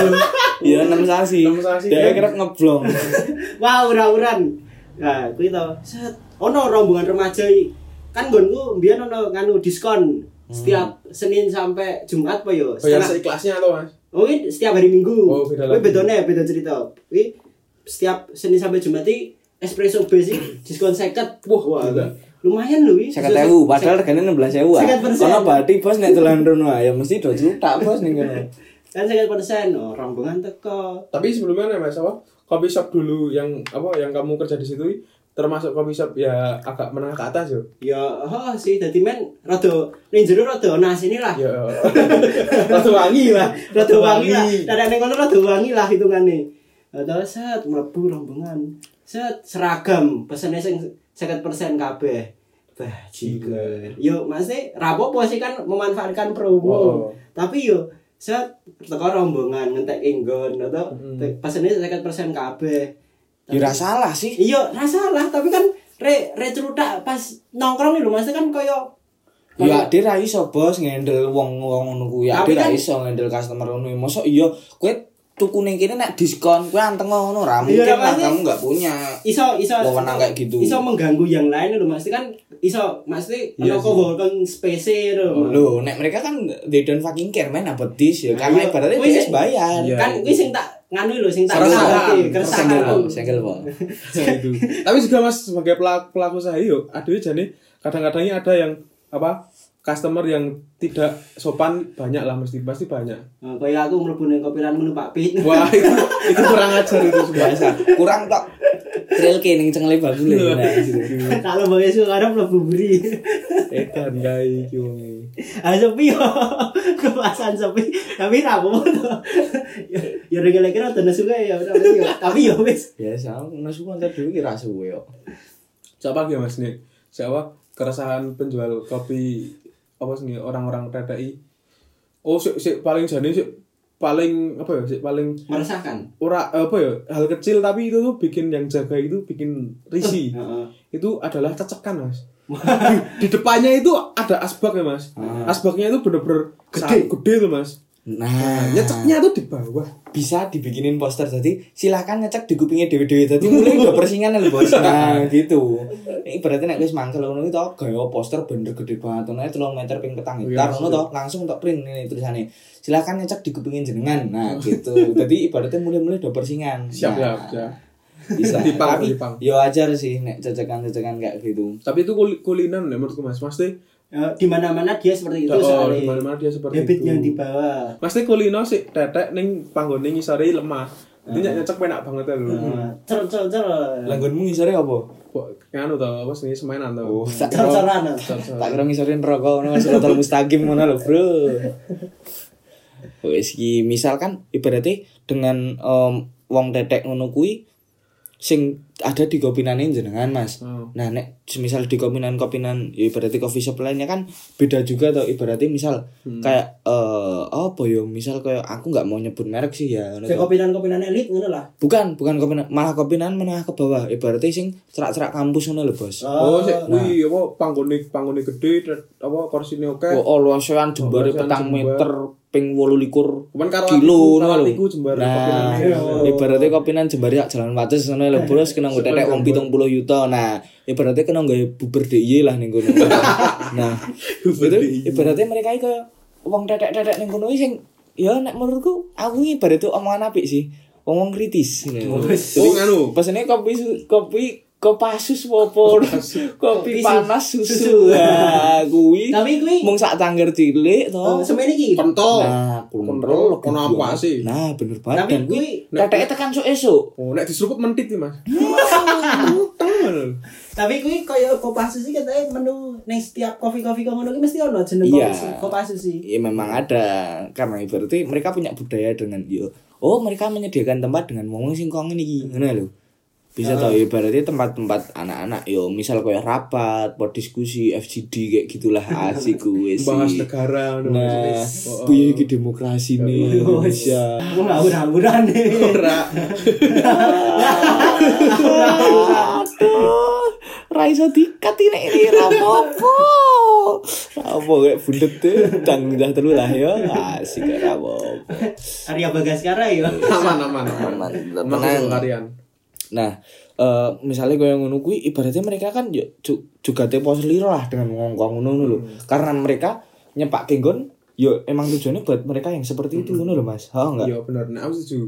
[SPEAKER 1] Iya, enam sasi.
[SPEAKER 3] Enam sasi.
[SPEAKER 1] Dia
[SPEAKER 2] iya.
[SPEAKER 1] kira ngeblong.
[SPEAKER 2] wah ura-uran nah kuwi to set ono rombongan remaja iki. kan gonku mbiyen ono nganu diskon
[SPEAKER 3] Hmm.
[SPEAKER 2] setiap Senin sampai Jumat apa yo
[SPEAKER 3] Bayar
[SPEAKER 2] Setengah-
[SPEAKER 3] seikhlasnya atau Mas?
[SPEAKER 2] Oh, ini setiap hari Minggu.
[SPEAKER 3] iya, Oh, beda
[SPEAKER 2] Kuwi
[SPEAKER 3] lagi.
[SPEAKER 2] bedone, beda cerita. Kuwi setiap Senin sampai Jumat iki espresso base iki diskon 50. Wah, wah
[SPEAKER 3] gila.
[SPEAKER 2] lumayan lho iki.
[SPEAKER 1] Saya kata padahal regane 16.000. ah.
[SPEAKER 2] 50%.
[SPEAKER 1] Ono bathi bos nek dolan rono ah, ya mesti do juta bos ning kono.
[SPEAKER 2] Kan 50% oh, rombongan teko.
[SPEAKER 3] Tapi sebelumnya nih Mas apa? Coffee shop dulu yang apa yang kamu kerja di situ termasuk coffee shop ya agak menengah ke atas yo.
[SPEAKER 2] Ya, oh sih dadi men rada ning jero rada nah, ana asine lah.
[SPEAKER 3] Ya. Rasa wangi lah.
[SPEAKER 2] Rada wangi lah. Nek ning kono rada wangi lah hitungane. Atau set mlebu rombongan. Set seragam, pesene sing 50% kabeh. Bah, jiger. Yo, maksudnya rapopo sih kan memanfaatkan promo.
[SPEAKER 3] Oh.
[SPEAKER 2] Tapi yo set teko rombongan ngentek inggon atau
[SPEAKER 3] Hmm.
[SPEAKER 2] te- pesene 50% kabeh.
[SPEAKER 1] Ya ora salah sih.
[SPEAKER 2] Iya, ra salah, tapi kan re re celutak pas nongkrong lho maksudnya kan koyo
[SPEAKER 1] Ya dia ra iso bos ngendel wong-wong ngono kuwi. Ya
[SPEAKER 2] Tapi
[SPEAKER 1] dia ra
[SPEAKER 2] kan-
[SPEAKER 1] iso ngendel customer ngono. Mosok iya kowe tuku ning kene nek diskon kowe anteng ngono ra mungkin
[SPEAKER 2] Iya,
[SPEAKER 1] lah
[SPEAKER 2] makanya-
[SPEAKER 1] kamu enggak punya.
[SPEAKER 2] iso iso
[SPEAKER 1] Wewenang kayak gitu.
[SPEAKER 2] iso mengganggu yang lain lho maksudnya kan iso maksudnya ono
[SPEAKER 3] Iya sih.
[SPEAKER 2] coworking space lho
[SPEAKER 1] Loh, nek mereka kan they don't fucking care man about this ya.
[SPEAKER 2] Nah,
[SPEAKER 1] Karena
[SPEAKER 2] iya.
[SPEAKER 1] ibaratnya
[SPEAKER 2] Wih,
[SPEAKER 1] dia
[SPEAKER 2] sih.
[SPEAKER 1] bayar.
[SPEAKER 3] Iya.
[SPEAKER 2] kan kuwi sing tak nganu lho sing tak
[SPEAKER 1] Keresahan.
[SPEAKER 2] kesalahan,
[SPEAKER 1] Senggel, Bang.
[SPEAKER 2] Iya, keresahan
[SPEAKER 1] Senggel, Bang.
[SPEAKER 3] itu. Tapi juga Mas sebagai pelaku, pelaku usaha yo aduh jane kadang-kadangnya ada yang apa? customer yang tidak sopan banyak lah mesti pasti banyak.
[SPEAKER 2] Nah, kayak aku mlebu ning kopiran menu Pak Pit
[SPEAKER 3] Wah, itu, itu kurang ajar itu sumpah.
[SPEAKER 1] biasa kurang tok trail ke ning cengle bagule
[SPEAKER 2] Iya.
[SPEAKER 1] nah gitu.
[SPEAKER 2] kalau mbak Yesus karena mlebu buri
[SPEAKER 3] Iya. Edan gawe iki wong.
[SPEAKER 2] ah sepi yo kepasan sepi tapi ra apa ya regale kira tenan suka ya ora apa, yo. tapi yo wis
[SPEAKER 1] biasa nesu antar dhewe ki ra suwe kok
[SPEAKER 3] Siapa ya Mas Nik? Siapa keresahan penjual kopi apa sih nih, orang-orang TTI? Oh, sik sik paling jane sik paling apa ya? Sik paling
[SPEAKER 2] meresahkan
[SPEAKER 3] ora apa ya? Hal kecil tapi itu tuh bikin yang jaga itu bikin risih.
[SPEAKER 2] Heeh.
[SPEAKER 3] itu adalah cecekan mas di depannya itu ada asbak ya mas asbaknya itu bener-bener gede gede tuh mas
[SPEAKER 1] nah
[SPEAKER 3] nyeceknya tuh di bawah
[SPEAKER 1] bisa dibikinin poster tadi silahkan ngecek di kupingnya dewi-dewi tadi mulai udah persingan lho bos nah gitu ini berarti nek wis mangkel ngono itu gaya poster bener gede banget ngono ae 3 meter ping petang hektar ngono to langsung tok print ini tulisannya silahkan ngecek di kupingin jenengan nah gitu jadi ibaratnya mulai-mulai udah persingan
[SPEAKER 3] siap
[SPEAKER 1] Nah,
[SPEAKER 3] siap siap
[SPEAKER 1] bisa
[SPEAKER 3] Dipang,
[SPEAKER 1] tapi
[SPEAKER 3] dipang.
[SPEAKER 1] yo ajar sih nek cecekan-cecekan kayak gitu
[SPEAKER 3] tapi itu kul kulinan ya menurutku mas pasti
[SPEAKER 2] Eh, di mana-mana dia seperti itu
[SPEAKER 3] oh,
[SPEAKER 2] soalnya
[SPEAKER 3] di mana dia seperti
[SPEAKER 2] habit yang
[SPEAKER 3] itu
[SPEAKER 2] dibawa
[SPEAKER 3] pasti kulino sih tetek ning panggone ngisore lemah itu nyek nyecek penak banget ya lho
[SPEAKER 2] cer cer cer
[SPEAKER 1] Langgonmu ngisore apa?
[SPEAKER 3] kan tuh apa sih semainan tuh
[SPEAKER 1] Oh, tak
[SPEAKER 2] cer
[SPEAKER 1] kira
[SPEAKER 2] ceran
[SPEAKER 1] tak kira ngisorin rokok ngono suratul mustaqim ngono lho, Bro. Wis iki misalkan ibaratnya dengan em, wong tetek ngono kuwi sing ada di kopinane jenengan Mas.
[SPEAKER 3] Hmm.
[SPEAKER 1] Nah, nek semisal di kopinan-kopinan ya ibaratnya coffee shop lainnya kan beda juga tau ibaratnya misal kayak eh apa ya misal kayak aku nggak mau nyebut merek sih ya ngono
[SPEAKER 2] Kayak
[SPEAKER 1] tau.
[SPEAKER 2] kopinan-kopinan elit ngono lah.
[SPEAKER 1] bukan bukan kopinan malah kopinan menengah ke bawah ibaratnya sing cerak-cerak kampus ngono lho bos
[SPEAKER 3] oh sih wih apa panggone panggone gede tet- apa korsine oke
[SPEAKER 1] Oh, losean jembare
[SPEAKER 3] Losean
[SPEAKER 1] petang
[SPEAKER 3] jembar.
[SPEAKER 1] meter ping 18
[SPEAKER 3] Cuman karo
[SPEAKER 1] kilo
[SPEAKER 3] aku-
[SPEAKER 1] ngono
[SPEAKER 3] karo
[SPEAKER 1] lho.
[SPEAKER 3] aku jembar
[SPEAKER 1] Nah,
[SPEAKER 3] kopinan oh. iki.
[SPEAKER 1] ibaratnya kopinan jembare sak jalan wates ngono lho, bos kena nggo tetek wong 70 juta. Nah, ibaratnya kena nggawe buber DIY lah ning kono. nah, itu
[SPEAKER 3] Buber DIY.
[SPEAKER 1] ibaratnya mereka iki kaya wong tetek-tetek ning kono iki sing ya nek menurutku aku iki ibaratnya omongan apik sih. Wong-wong kritis. Nah,
[SPEAKER 3] Oh, nganu.
[SPEAKER 1] Pesennya kopi su- kopi kopasus popo kopi
[SPEAKER 2] Kopi su-
[SPEAKER 1] panas susu.
[SPEAKER 2] susu.
[SPEAKER 1] Nah, kuwi
[SPEAKER 2] Tapi kuwi
[SPEAKER 1] mung sak tangger cilik to.
[SPEAKER 2] oh, semene iki.
[SPEAKER 3] pentol
[SPEAKER 1] Nah,
[SPEAKER 3] kontrol kono apa sih
[SPEAKER 1] Nah, bener banget.
[SPEAKER 2] Tapi
[SPEAKER 1] Dan
[SPEAKER 2] kuwi
[SPEAKER 1] Teteknya tekan sok esuk.
[SPEAKER 3] oh nek diseruput mentit nih mas ngono.
[SPEAKER 2] Tapi kuwi koyo kopasus iki katanya menu ning setiap kopi-kopi kok ngono ki mesti ono jeneng
[SPEAKER 1] Iya.
[SPEAKER 2] kopasus, kopasus
[SPEAKER 1] ya
[SPEAKER 2] iki.
[SPEAKER 1] memang ada karena berarti mereka punya budaya dengan yo oh mereka menyediakan tempat dengan ngomong singkong ini gimana lo bisa tau ya berarti tempat-tempat anak-anak yo misal kayak rapat buat diskusi FGD kayak gitulah asik gue sih
[SPEAKER 3] Bahas negara ngono.
[SPEAKER 1] nah
[SPEAKER 3] Oh, oh.
[SPEAKER 1] piye iki demokrasi nih Indonesia
[SPEAKER 2] Aku ngawur-ngawuran nih.
[SPEAKER 3] Ora.
[SPEAKER 1] aduh Raiso dikat ini ini rapopo rapo kayak bundet e, tuh dan udah terlalu lah ya asik rapopo
[SPEAKER 2] Arya Bagaskara yo.
[SPEAKER 3] Aman aman aman.
[SPEAKER 1] Aman,
[SPEAKER 3] Aman
[SPEAKER 1] tenang.
[SPEAKER 3] kalian.
[SPEAKER 1] Nah, eh misalnya kau yang ngono kuwi, ibaratnya mereka kan yo ju- juga tepo seliro lah dengan ngomong ngono ngono lho.
[SPEAKER 2] Hmm.
[SPEAKER 1] Karena mereka nyepak genggon yo emang tujuannya buat mereka yang seperti
[SPEAKER 2] Hmm.
[SPEAKER 1] itu ngono lho Mas. Ha enggak?
[SPEAKER 3] Iya bener. Nah, aku setuju.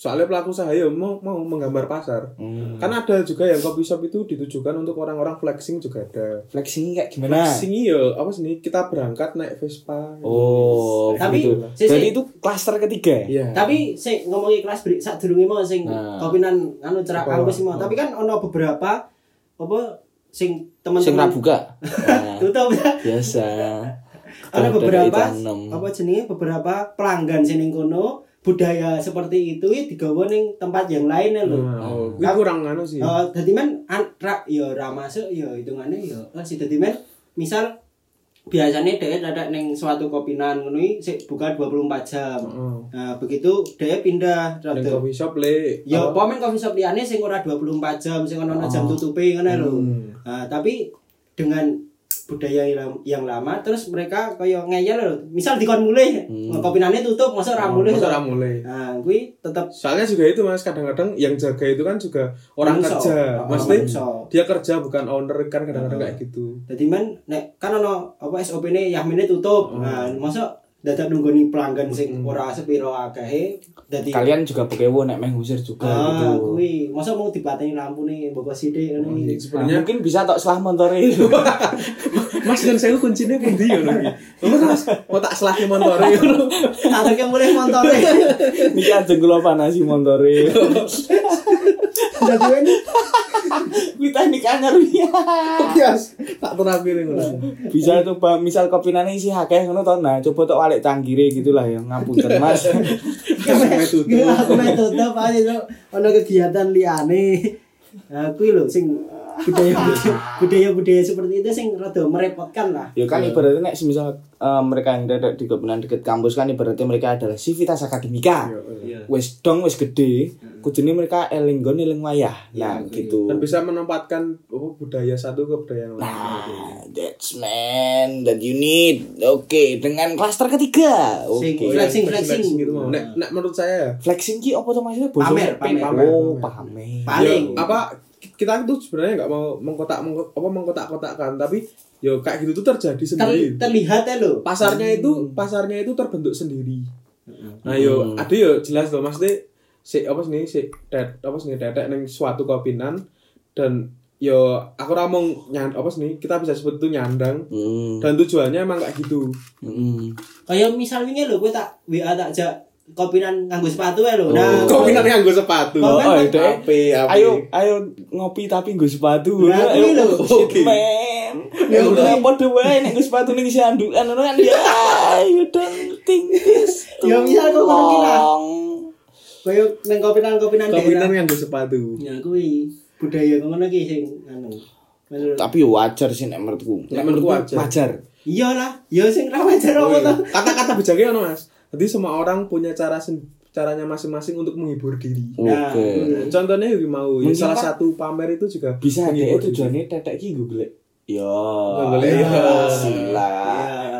[SPEAKER 3] Soalnya pelaku usaha ya mau mau menggambar pasar. Kan ada juga yang kopi shop itu ditujukan untuk orang-orang flexing juga ada.
[SPEAKER 1] Flexing kayak gimana?
[SPEAKER 3] Flexing iya apa sih ini? kita berangkat naik Vespa.
[SPEAKER 1] Oh,
[SPEAKER 2] Tapi,
[SPEAKER 1] begitu.
[SPEAKER 2] si- si-
[SPEAKER 1] Jadi itu klaster ketiga. ya?
[SPEAKER 3] Iya.
[SPEAKER 2] Tapi sik ngomongi kelas beri sak durunge mau sing
[SPEAKER 1] Nah.
[SPEAKER 2] kopinan anu cerak
[SPEAKER 3] Apa?
[SPEAKER 2] kampus mau. Tapi kan ono beberapa apa
[SPEAKER 1] Sing
[SPEAKER 2] sing
[SPEAKER 1] ra
[SPEAKER 2] teman-teman
[SPEAKER 1] buka. Nah,
[SPEAKER 2] tutup.
[SPEAKER 1] biasa.
[SPEAKER 2] Ada
[SPEAKER 1] Kepada
[SPEAKER 2] beberapa
[SPEAKER 1] Itanem.
[SPEAKER 2] apa jenenge beberapa pelanggan sing ning kono budaya seperti itu ya digawa ning tempat yang lain ya lho.
[SPEAKER 3] Nah, oh, kuwi kurang anu sih.
[SPEAKER 2] Eh, dadi men an- ra ya ora masuk ya hitungane ya eh, si dadi men misal biasanya dia ada ning suatu kopinan ngono iki sik buka 24 jam.
[SPEAKER 3] Heeh.
[SPEAKER 2] Nah, begitu dia pindah
[SPEAKER 3] Dan
[SPEAKER 2] rada-
[SPEAKER 3] coffee shop le.
[SPEAKER 2] Ya
[SPEAKER 3] apa? Oh.
[SPEAKER 2] apa men coffee shop liyane sing ora 24 jam, sing ono jam tutupe ngene lho.
[SPEAKER 3] Hmm.
[SPEAKER 2] Nah, Ah, tapi dengan budaya yang, yang lama terus mereka kaya ngeyel lho. Misal dikon mulih,
[SPEAKER 1] Hmm.
[SPEAKER 2] kopinane tutup, masa ora mulih.
[SPEAKER 3] Masa ora mulai.
[SPEAKER 2] Nah, kuwi tetep
[SPEAKER 3] Soalnya juga itu mas kadang-kadang yang jaga itu kan juga orang
[SPEAKER 2] menungso.
[SPEAKER 3] kerja,
[SPEAKER 2] Ah,
[SPEAKER 3] maksudnya
[SPEAKER 2] menungso.
[SPEAKER 3] dia kerja bukan owner kan kadang-kadang kayak gitu.
[SPEAKER 2] Dadi men nek kan ono apa SOP-ne yahmine tutup. Nah, masa dadak nunggoni pelanggan sing ora sepiro akehe dadi
[SPEAKER 1] Kalian juga bekewo nek meh ngusir juga
[SPEAKER 2] Ah,
[SPEAKER 1] gitu.
[SPEAKER 2] kuwi masa mau dipateni lampune mbok sithik ngono
[SPEAKER 1] Nah,
[SPEAKER 2] iki.
[SPEAKER 3] Sebenarnya
[SPEAKER 1] mungkin bisa tok selah montore itu.
[SPEAKER 3] mas dan saya kuncinya pundi ya lagi. Kamu mas mau tak selahnya motor ya lho.
[SPEAKER 2] Atau ke mulih montore.
[SPEAKER 1] Niki ajeng kula panasi montore.
[SPEAKER 2] Dadi men
[SPEAKER 1] Kuwi teknik anyar
[SPEAKER 2] iya. Oh,
[SPEAKER 1] piye.
[SPEAKER 3] Yes, tak terapi nih lho.
[SPEAKER 1] bisa coba misal kopinane isi akeh ngono to nah coba tok walik cangkire gitu lah ya ngapunten Mas
[SPEAKER 3] Sampai tutup.
[SPEAKER 2] Iya, aku main tutup aja lo. Ono kegiatan liane. Nah, kuwi lho sing budaya budaya budaya seperti itu sing rada merepotkan lah.
[SPEAKER 1] ya kan ibaratnya nek semisal eh, mereka yang ada di kopinan deket kampus kan ibaratnya mereka adalah sivitas akademika
[SPEAKER 2] Iya.
[SPEAKER 1] wis dong wis gede kudune mereka eling nggon eling wayah nah gitu
[SPEAKER 3] Dan bisa menempatkan oh, budaya satu ke budaya yang lain.
[SPEAKER 1] Nah, that's man that you need oke dengan klaster ketiga oke
[SPEAKER 2] Sing flexing flexing
[SPEAKER 3] Oh, Flexing gitu mau. Nek, nek menurut saya ya,
[SPEAKER 1] flexing ki apa tuh maksudnya Bosone?
[SPEAKER 2] Pamer, pamer.
[SPEAKER 1] oh pamer
[SPEAKER 2] Paling
[SPEAKER 3] Ya, apa kita itu sebenarnya nggak mau mengkotak mengko- apa mengkotak-kotakkan tapi yo kayak gitu tuh terjadi
[SPEAKER 2] ter-
[SPEAKER 3] sendiri.
[SPEAKER 2] terlihat ya lo.
[SPEAKER 3] pasarnya itu
[SPEAKER 1] Hmm.
[SPEAKER 3] pasarnya itu terbentuk sendiri nah yo ada yo jelas loh maksudnya si apa sih si det apa sih detek neng suatu kopinan dan yo aku ramong nyan apa sih kita bisa sebut itu nyandang
[SPEAKER 1] Hmm,
[SPEAKER 3] dan tujuannya emang kayak gitu
[SPEAKER 1] hmm.
[SPEAKER 2] Kayak misalnya lo, gue tak WA tak jak kopinan nganggo sepatu ya
[SPEAKER 1] Oh.
[SPEAKER 2] lo. Nah,
[SPEAKER 3] kopinan nganggo sepatu
[SPEAKER 2] Oh,
[SPEAKER 1] oh, itu.
[SPEAKER 3] api api
[SPEAKER 1] Ayo, ayo ngopi tapi nggo sepatu.
[SPEAKER 2] Nah,
[SPEAKER 1] ayo, oh,
[SPEAKER 2] kuwi lho.
[SPEAKER 1] Shit,
[SPEAKER 3] Oke.
[SPEAKER 1] man. Ya
[SPEAKER 3] Ya
[SPEAKER 1] udah
[SPEAKER 3] udah.
[SPEAKER 1] padha wae nek nggo sepatu ning isi andukan ngono kan ya. You don't think this.
[SPEAKER 2] Ya,
[SPEAKER 1] too
[SPEAKER 2] misal kok ngono ki lah.
[SPEAKER 1] long.
[SPEAKER 2] kayak neng kopinan kopinan
[SPEAKER 3] kopinan
[SPEAKER 2] daerah.
[SPEAKER 3] nganggo sepatu
[SPEAKER 2] Ya kuwi budaya ngono ki sing anu. Menurut-
[SPEAKER 1] Tapi yo wajar sih nek menurutku.
[SPEAKER 3] Nek menurutku wajar.
[SPEAKER 2] Iya lah, ya sing ra wajar
[SPEAKER 1] Oh,
[SPEAKER 2] apa
[SPEAKER 3] Oh,
[SPEAKER 1] iya.
[SPEAKER 2] to?
[SPEAKER 3] iya. kata-kata bijaknya ono mas jadi semua orang punya cara sen- caranya masing-masing untuk menghibur diri
[SPEAKER 2] Nah,
[SPEAKER 1] Oke.
[SPEAKER 3] Nah, contohnya yo mau
[SPEAKER 1] Oh.
[SPEAKER 3] ya
[SPEAKER 1] Mungkin
[SPEAKER 3] salah
[SPEAKER 1] Pak-
[SPEAKER 3] satu pamer itu juga
[SPEAKER 1] Bisa dhek
[SPEAKER 3] menghibur diri.
[SPEAKER 1] tujuane tetek ki nggo golek. Yo.
[SPEAKER 3] golek.
[SPEAKER 1] Iya. Sila.
[SPEAKER 2] Ya.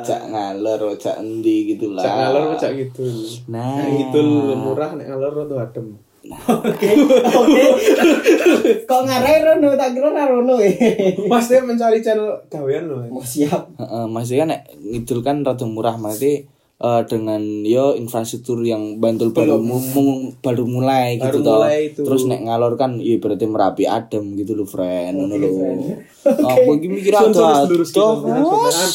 [SPEAKER 1] Cak ngalor, cak endi gitu lah.
[SPEAKER 3] Iya. Cak ngalor apa cak gitu.
[SPEAKER 1] Nah,
[SPEAKER 3] Nek ngidul murah nek ngalor tuh adem.
[SPEAKER 2] Oke. Oke. Kok ngarai Rono tak kira ora Rono eh.
[SPEAKER 3] Mas dia mencari channel gawean loh.
[SPEAKER 2] Mau siap.
[SPEAKER 1] Heeh, maksudnya nek ngidul kan rada murah berarti eh, dengan yo infrastruktur yang bantul baru mu- mu- baru mulai gitu
[SPEAKER 3] Baru
[SPEAKER 1] toh.
[SPEAKER 3] mulai itu.
[SPEAKER 1] Terus nek ngalor kan ya berarti merapi adem gitu loh friend ngono lho. Aku iki mikir ada
[SPEAKER 3] lurus gitu. Beneran.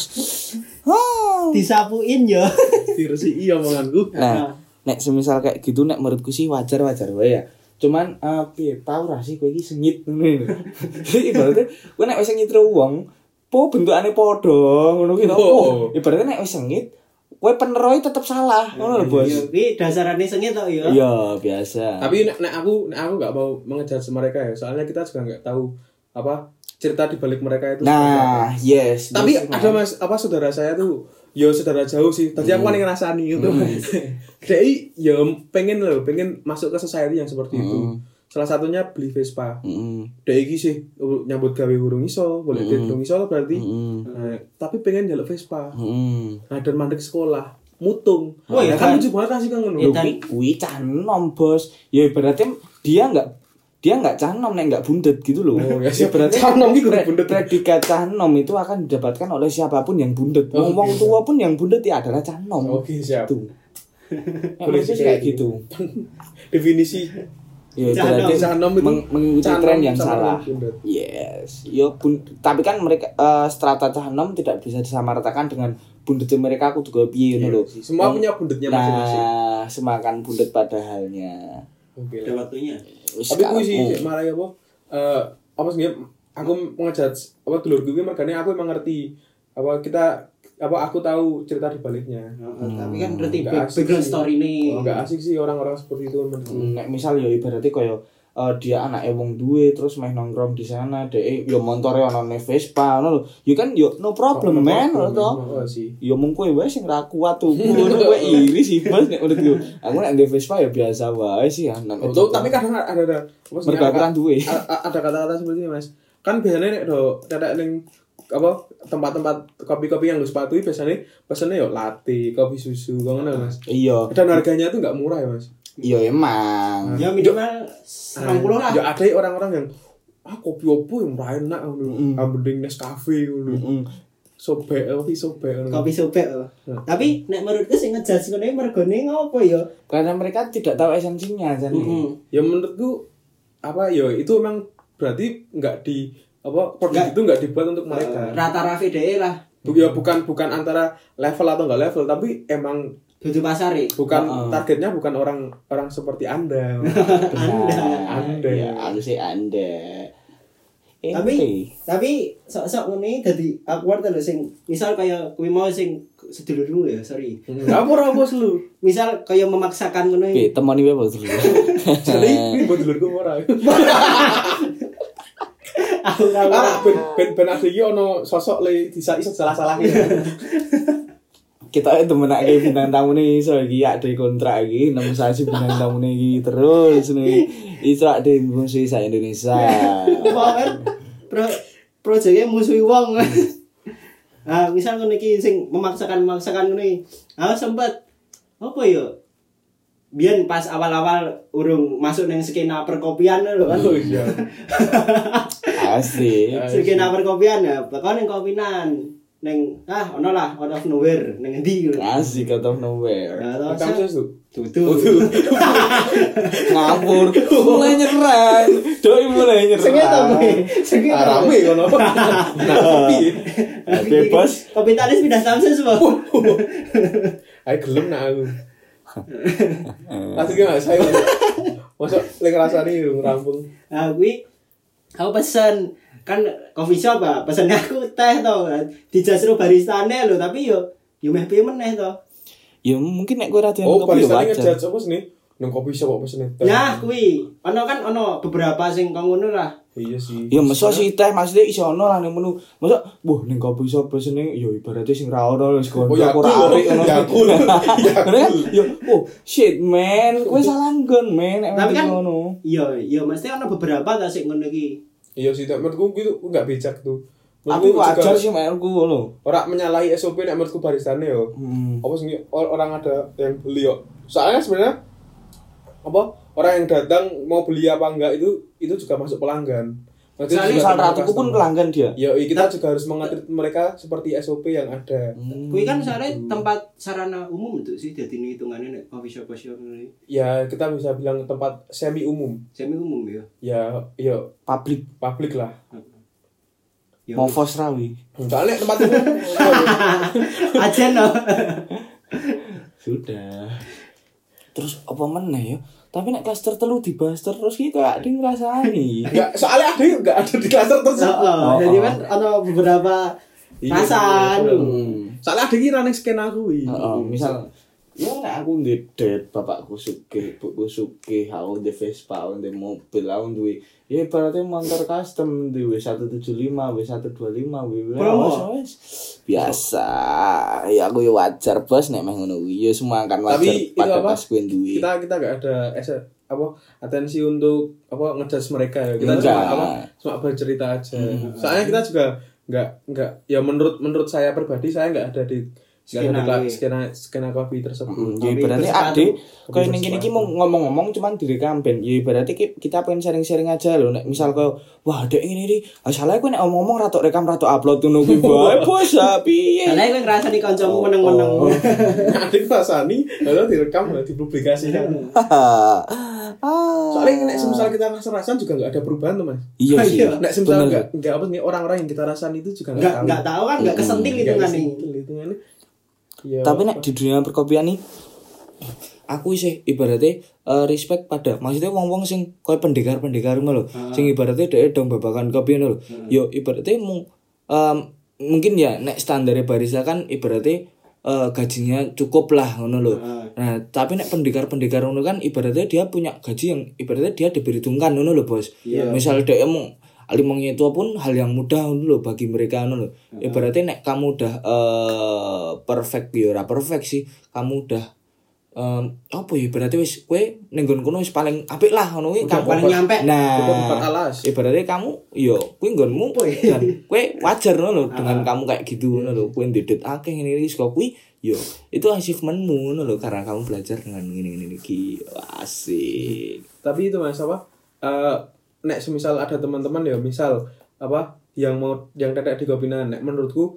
[SPEAKER 2] Disapuin ya.
[SPEAKER 3] Virus iya omonganku.
[SPEAKER 1] Nah, nek semisal kayak gitu nek menurutku sih wajar-wajar wae ya. cuman eh piye tau ra sih kowe iki sengit ngono lho Jadi ibaratnya kowe nek wis sengit wong po bentukane padha ngono ki
[SPEAKER 3] Oh.
[SPEAKER 1] opo ibaratnya nek wis sengit kowe peneroi tetep salah ngono lho bos
[SPEAKER 2] Iya, Ki dasarane sengit tok ya.
[SPEAKER 1] iya biasa
[SPEAKER 3] Tapi nek, nek aku nek aku nggak mau mengejar mereka ya. Soalnya kita juga nggak tahu apa cerita di balik mereka itu.
[SPEAKER 1] nah yes
[SPEAKER 3] tapi
[SPEAKER 1] Yes,
[SPEAKER 3] ada
[SPEAKER 1] nah.
[SPEAKER 3] mas apa saudara saya tuh yo saudara jauh sih tadi
[SPEAKER 1] Hmm.
[SPEAKER 3] aku paling ngerasani gitu Dei ya pengen loh pengen masuk ke society yang seperti itu
[SPEAKER 1] Hmm.
[SPEAKER 3] salah satunya beli Vespa
[SPEAKER 1] Mm,
[SPEAKER 3] Dei iki sih uh, nyambut gawe urung iso boleh
[SPEAKER 1] Hmm.
[SPEAKER 3] duit urung iso berarti
[SPEAKER 1] mm,
[SPEAKER 3] Nah, tapi pengen jaluk Vespa
[SPEAKER 1] mm.
[SPEAKER 3] nah dan mandek sekolah mutung
[SPEAKER 2] Wah, ya
[SPEAKER 3] kan
[SPEAKER 2] kan?
[SPEAKER 3] lucu banget kan sih kan
[SPEAKER 1] Lho,
[SPEAKER 2] Ya,
[SPEAKER 3] ngono
[SPEAKER 2] dan-
[SPEAKER 1] kuwi- kuwi cah nom bos ya ibaratnya dia nggak dia nggak cah nom nek nggak bundet gitu loh
[SPEAKER 3] Oh, ya sih.
[SPEAKER 1] ibaratnya
[SPEAKER 3] Cah nom iki kudu
[SPEAKER 1] pre-
[SPEAKER 3] bundet.
[SPEAKER 1] predikat cah nom itu akan didapatkan oleh siapapun yang bundet
[SPEAKER 3] Oh,
[SPEAKER 1] wong wong
[SPEAKER 3] iya.
[SPEAKER 1] tua pun yang bundet ya adalah cah nom
[SPEAKER 3] oke siap
[SPEAKER 1] gitu Nek
[SPEAKER 3] Boleh
[SPEAKER 1] menurutku
[SPEAKER 3] sih
[SPEAKER 1] sih kayak
[SPEAKER 3] kayak
[SPEAKER 1] gitu
[SPEAKER 3] definisi
[SPEAKER 1] ya
[SPEAKER 2] Cah nom.
[SPEAKER 1] ibaratnya
[SPEAKER 3] Cah nom itu
[SPEAKER 1] meng- mengikuti
[SPEAKER 3] cah nom
[SPEAKER 1] tren yang
[SPEAKER 3] sama
[SPEAKER 1] salah
[SPEAKER 3] dengan bundet.
[SPEAKER 1] yes ya bun- tapi kan mereka eh, strata cah nom tidak bisa disamaratakan dengan bundet mereka aku juga piye
[SPEAKER 3] Iya
[SPEAKER 1] ngono lho
[SPEAKER 3] sih. semua
[SPEAKER 1] Wong-
[SPEAKER 3] punya bundetnya masing-masing
[SPEAKER 1] Nah, semakan bundet pada halnya.
[SPEAKER 3] oke lah.
[SPEAKER 2] Ada waktunya.
[SPEAKER 1] Wis
[SPEAKER 3] tapi aku sih
[SPEAKER 1] karepmu.
[SPEAKER 3] cek malah ya apa eh apa sih aku mengejar apa dulur gue makanya aku emang ngerti apa kita apa aku tahu cerita di baliknya
[SPEAKER 2] Heeh, Tapi kan berarti
[SPEAKER 3] Nggak
[SPEAKER 2] back-
[SPEAKER 3] asik
[SPEAKER 2] background
[SPEAKER 3] sih.
[SPEAKER 2] story nih.
[SPEAKER 3] Oh, nggak asik sih orang-orang seperti itu menurutku
[SPEAKER 1] nek Mm, misal ya ibaratnya kaya eh, dia anak wong duwe terus main nongkrong di sana dek yo montore ono ne Vespa ngono lho ya kan yo no problem men ngono to
[SPEAKER 3] Oh, sih
[SPEAKER 1] yo mung kowe wae sing ra kuat tuku ngono kowe iri sih bos nek menurut gue. aku nek ndek Vespa ya biasa wae sih ya
[SPEAKER 3] Oh, tuh, tapi kadang ada ada apa sih,
[SPEAKER 1] Mereka
[SPEAKER 3] ada-
[SPEAKER 1] kurang duit.
[SPEAKER 3] a- a- ada kata-kata seperti ini mas kan biasanya nek do tetek ning apa tempat-tempat kopi-kopi yang lu sepatui biasanya pesannya yo latte kopi susu kau ngono mas
[SPEAKER 1] iya
[SPEAKER 3] dan harganya tuh nggak murah ya mas
[SPEAKER 1] iya emang
[SPEAKER 2] Ya minimal 90 lah.
[SPEAKER 3] Ya ada orang-orang yang ah kopi opo yang murah enak ngono.
[SPEAKER 1] Mm.
[SPEAKER 3] Ah mending Nescafe ngono.
[SPEAKER 1] Mm.
[SPEAKER 3] Sobek kopi sobek ngono.
[SPEAKER 2] Kopi sobek. oh.
[SPEAKER 3] Hmm.
[SPEAKER 2] Tapi nek menurutku sing ngejudge ngene mergone ngopo ya?
[SPEAKER 1] karena mereka tidak tahu esensinya kan
[SPEAKER 2] Heeh.
[SPEAKER 3] Ya menurutku apa ya itu emang berarti nggak di apa produk
[SPEAKER 2] Nggak. Ah.
[SPEAKER 3] itu nggak dibuat untuk mereka.
[SPEAKER 2] Eh, Rata-rata VDE lah.
[SPEAKER 3] Bu- Ya bukan bukan antara level atau nggak level tapi emang
[SPEAKER 2] Dudu pasar ya.
[SPEAKER 3] bukan
[SPEAKER 1] Uh-uh.
[SPEAKER 3] targetnya bukan orang orang seperti anda.
[SPEAKER 1] Benar.
[SPEAKER 3] Anda.
[SPEAKER 1] ya aku sih anda
[SPEAKER 2] Tapi
[SPEAKER 1] Ente.
[SPEAKER 2] tapi sok-sok ngene dadi awkward lho sing misal kaya kuwi mau sing sedulurmu ya, sorry.
[SPEAKER 3] Nggak murah bos lu.
[SPEAKER 2] Misal kaya memaksakan ngono iki.
[SPEAKER 1] Oke, temoni wae bos dulu.
[SPEAKER 3] Jadi ini buat dulurku murah.
[SPEAKER 2] Aku ora ora.
[SPEAKER 3] Ah, ben ben ben ada iki ono sosok le disa iso salah-salahin.
[SPEAKER 1] Kita itu menake bintang tamu nih iso iki ada kontrak iki nemu sasi bintang tamu nih iki terus nih iso ada musisi sa Indonesia.
[SPEAKER 2] Power pro proyeknya musuhi wong. Ah, misal ngene iki sing memaksakan-memaksakan ngene. Aku sempat apa ya? Biyen pas awal-awal urung masuk ning skena perkopian lho kan.
[SPEAKER 3] Oh iya.
[SPEAKER 1] Asik.
[SPEAKER 2] skena perkopian ya, bakal ning kopinan. Ning ah ono lah, out of nowhere ning endi ngono.
[SPEAKER 1] Asik out of nowhere.
[SPEAKER 2] Nah, terus,
[SPEAKER 3] Kamu tuh.
[SPEAKER 1] Oh,
[SPEAKER 2] Tutu.
[SPEAKER 1] Ngapur mulai nyerang. Doi mulai
[SPEAKER 2] Sengit to kowe.
[SPEAKER 1] nyerang.
[SPEAKER 2] Sengit to kowe.
[SPEAKER 3] Arame kan ngono. Nah, tapi
[SPEAKER 1] Oke, Bos. Oh,
[SPEAKER 2] Kapitalis pindah Samsung semua.
[SPEAKER 3] ayo gelem nak aku. Asli gak saya. Masuk lek rasane yo rampung.
[SPEAKER 2] Nah, gue aku pesen kan coffee shop ah, pesennya aku teh to. Dijasro baristane lho, tapi yo yo meh piye meneh to.
[SPEAKER 1] Ya mungkin nek kowe ra doyan
[SPEAKER 3] Oh,
[SPEAKER 1] kopi ya
[SPEAKER 3] barista ini
[SPEAKER 1] wajar.
[SPEAKER 3] ngejudge apa sih nih? Nang kopi shop apa sih nih?
[SPEAKER 2] Nah, kuwi ono kan ono beberapa sing kok ngono lah.
[SPEAKER 3] Iya sih.
[SPEAKER 1] Ya masa sih teh maksudnya iso ono lah ning menu. Masa wah ning kopi shop pesene ya ibaratnya sing ra ono wis
[SPEAKER 3] Oh
[SPEAKER 1] kono
[SPEAKER 3] ya aku,
[SPEAKER 1] ora arek
[SPEAKER 3] ya aku, ya
[SPEAKER 1] Karena kan,
[SPEAKER 3] aku.
[SPEAKER 1] yo, oh shit man, kue salah nggon man, nek
[SPEAKER 2] Tapi
[SPEAKER 1] mati
[SPEAKER 2] kan-
[SPEAKER 1] ngono.
[SPEAKER 2] Iya, iya mesti ono beberapa ta sing ngono iki.
[SPEAKER 3] Iya sih, tapi menurutku gitu nggak bijak tuh.
[SPEAKER 1] Tapi
[SPEAKER 3] Menurutku
[SPEAKER 1] wajar
[SPEAKER 3] juga
[SPEAKER 1] sih menurutku ngono.
[SPEAKER 3] Orang menyalahi SOP nek menurutku baristane yo.
[SPEAKER 1] Hmm.
[SPEAKER 3] apa sih or- orang ada yang beli kok soalnya sebenarnya apa orang yang datang mau beli apa enggak itu itu juga masuk pelanggan
[SPEAKER 1] Soalnya
[SPEAKER 3] Maksudnya juga
[SPEAKER 1] misal
[SPEAKER 3] termasuk
[SPEAKER 1] ratuku pun Nah.
[SPEAKER 3] customer.
[SPEAKER 1] pelanggan dia.
[SPEAKER 3] ya iya, kita juga harus mengatur mereka seperti SOP yang ada
[SPEAKER 1] Hmm.
[SPEAKER 2] Kuwi kan sare tempat sarana umum tuh sih dadi hitungane nek coffee shop coffee shop ngono iki.
[SPEAKER 3] ya kita bisa bilang tempat semi umum
[SPEAKER 2] Semi umum ya.
[SPEAKER 3] ya ya
[SPEAKER 1] Publik
[SPEAKER 3] publik lah
[SPEAKER 2] Ya.
[SPEAKER 1] mau fos rawi.
[SPEAKER 3] soalnya tempat umum
[SPEAKER 2] Ajen no.
[SPEAKER 1] Sudah. Terus apa meneh ya? tapi nek klaster telu dibahas terus ki kayak ding ngrasani
[SPEAKER 3] Enggak, soalnya ada yang enggak ada di klaster terus.
[SPEAKER 2] Heeh, jadi kan ada beberapa
[SPEAKER 3] Iya,
[SPEAKER 2] rasan.
[SPEAKER 3] iya, iya.
[SPEAKER 1] hmm.
[SPEAKER 3] Soalnya ada yang running skena kuwi.
[SPEAKER 1] Heeh, misal ya nek aku ngedet bapakku sugih, ibuku sugih, aku ndek Vespa, aku ndek mobil, aku duwe ya ibaratnya motor custom duwe 175, W125, W
[SPEAKER 2] Promo.
[SPEAKER 1] biasa. Ya aku ya wajar bos nek meh ngono kuwi ya semua kan wajar
[SPEAKER 3] Tapi itu
[SPEAKER 1] pada
[SPEAKER 3] apa?
[SPEAKER 1] pas kuwi duwe.
[SPEAKER 3] Kita kita enggak ada es- apa atensi untuk apa ngejudge mereka ya. Kita
[SPEAKER 1] Enggak. Hmm.
[SPEAKER 3] cuma apa cuma bercerita aja. Soalnya kita juga enggak enggak ya menurut menurut saya pribadi saya enggak ada di
[SPEAKER 2] Skena ya.
[SPEAKER 3] enggak ada di kla- skena skena kopi tersebut.
[SPEAKER 1] Mm,
[SPEAKER 2] Tapi
[SPEAKER 1] ya ibaratnya
[SPEAKER 2] bersepatu.
[SPEAKER 1] ade kayak
[SPEAKER 3] Tapi
[SPEAKER 1] ning kene iki mau
[SPEAKER 3] bersepatu.
[SPEAKER 1] ngomong-ngomong cuman direkam ben ya ibaratnya ki- kita pengen sharing-sharing aja loh nek misal kau wah dek ngene iki asale kowe nek ngomong ratok rekam ratok upload ngono kuwi bae bos ya piye
[SPEAKER 2] Karena gue ngerasa di kancamu meneng-meneng.
[SPEAKER 1] Oh.
[SPEAKER 3] Nah, adik rasani lalu direkam lalu dipublikasikan.
[SPEAKER 2] Hmm.
[SPEAKER 3] Soalnya nek semisal kita rasa-rasan juga enggak ada perubahan tuh, Mas.
[SPEAKER 1] iya sih
[SPEAKER 2] Iya.
[SPEAKER 3] Nek semisal
[SPEAKER 1] Bener.
[SPEAKER 3] enggak enggak apa nih orang-orang yang kita rasain itu juga
[SPEAKER 2] Enggak
[SPEAKER 3] enggak
[SPEAKER 2] enggak tahu kan enggak kesentil
[SPEAKER 3] Nggak
[SPEAKER 2] itu kan nih.
[SPEAKER 3] kesentil hitungannya. Ya,
[SPEAKER 1] tapi nek di dunia perkopian nih aku sih ibaratnya eh, respect pada maksudnya wong-wong sing koyo pendekar-pendekar ngono lho sing ibaratnya dhek dong babakan kopi ngono lho yo ibaratnya mung em, mungkin ya nek standar barista kan ibaratnya eh, gajinya cukup lah ngono lho nah tapi nek pendekar-pendekar ngono kan ibaratnya dia punya gaji yang ibaratnya dia diperhitungkan ngono lho bos misal dhek mung alimong itu pun hal yang mudah ngono lho bagi mereka ngono lho ibaratnya nek kamu udah eh, perfect ya ora perfect sih kamu udah em, apa ya berarti wis kue nenggon kono wis paling apik lah ngono kuwi kamu
[SPEAKER 2] paling nyampe.
[SPEAKER 3] Udah
[SPEAKER 1] nah
[SPEAKER 3] empat alas.
[SPEAKER 1] ibaratnya kamu yo kuwi nggonmu ya? dan kue wajar ngono lho dengan kamu kayak gitu ngono lho kue ndedit akeh ngene iki kok kuwi yo itu achievementmu ngono lho karena kamu belajar dengan ngene-ngene iki asik
[SPEAKER 3] tapi itu mas apa eh, nek semisal ada teman-teman ya misal apa yang mau yang tetek di kopinan nek menurutku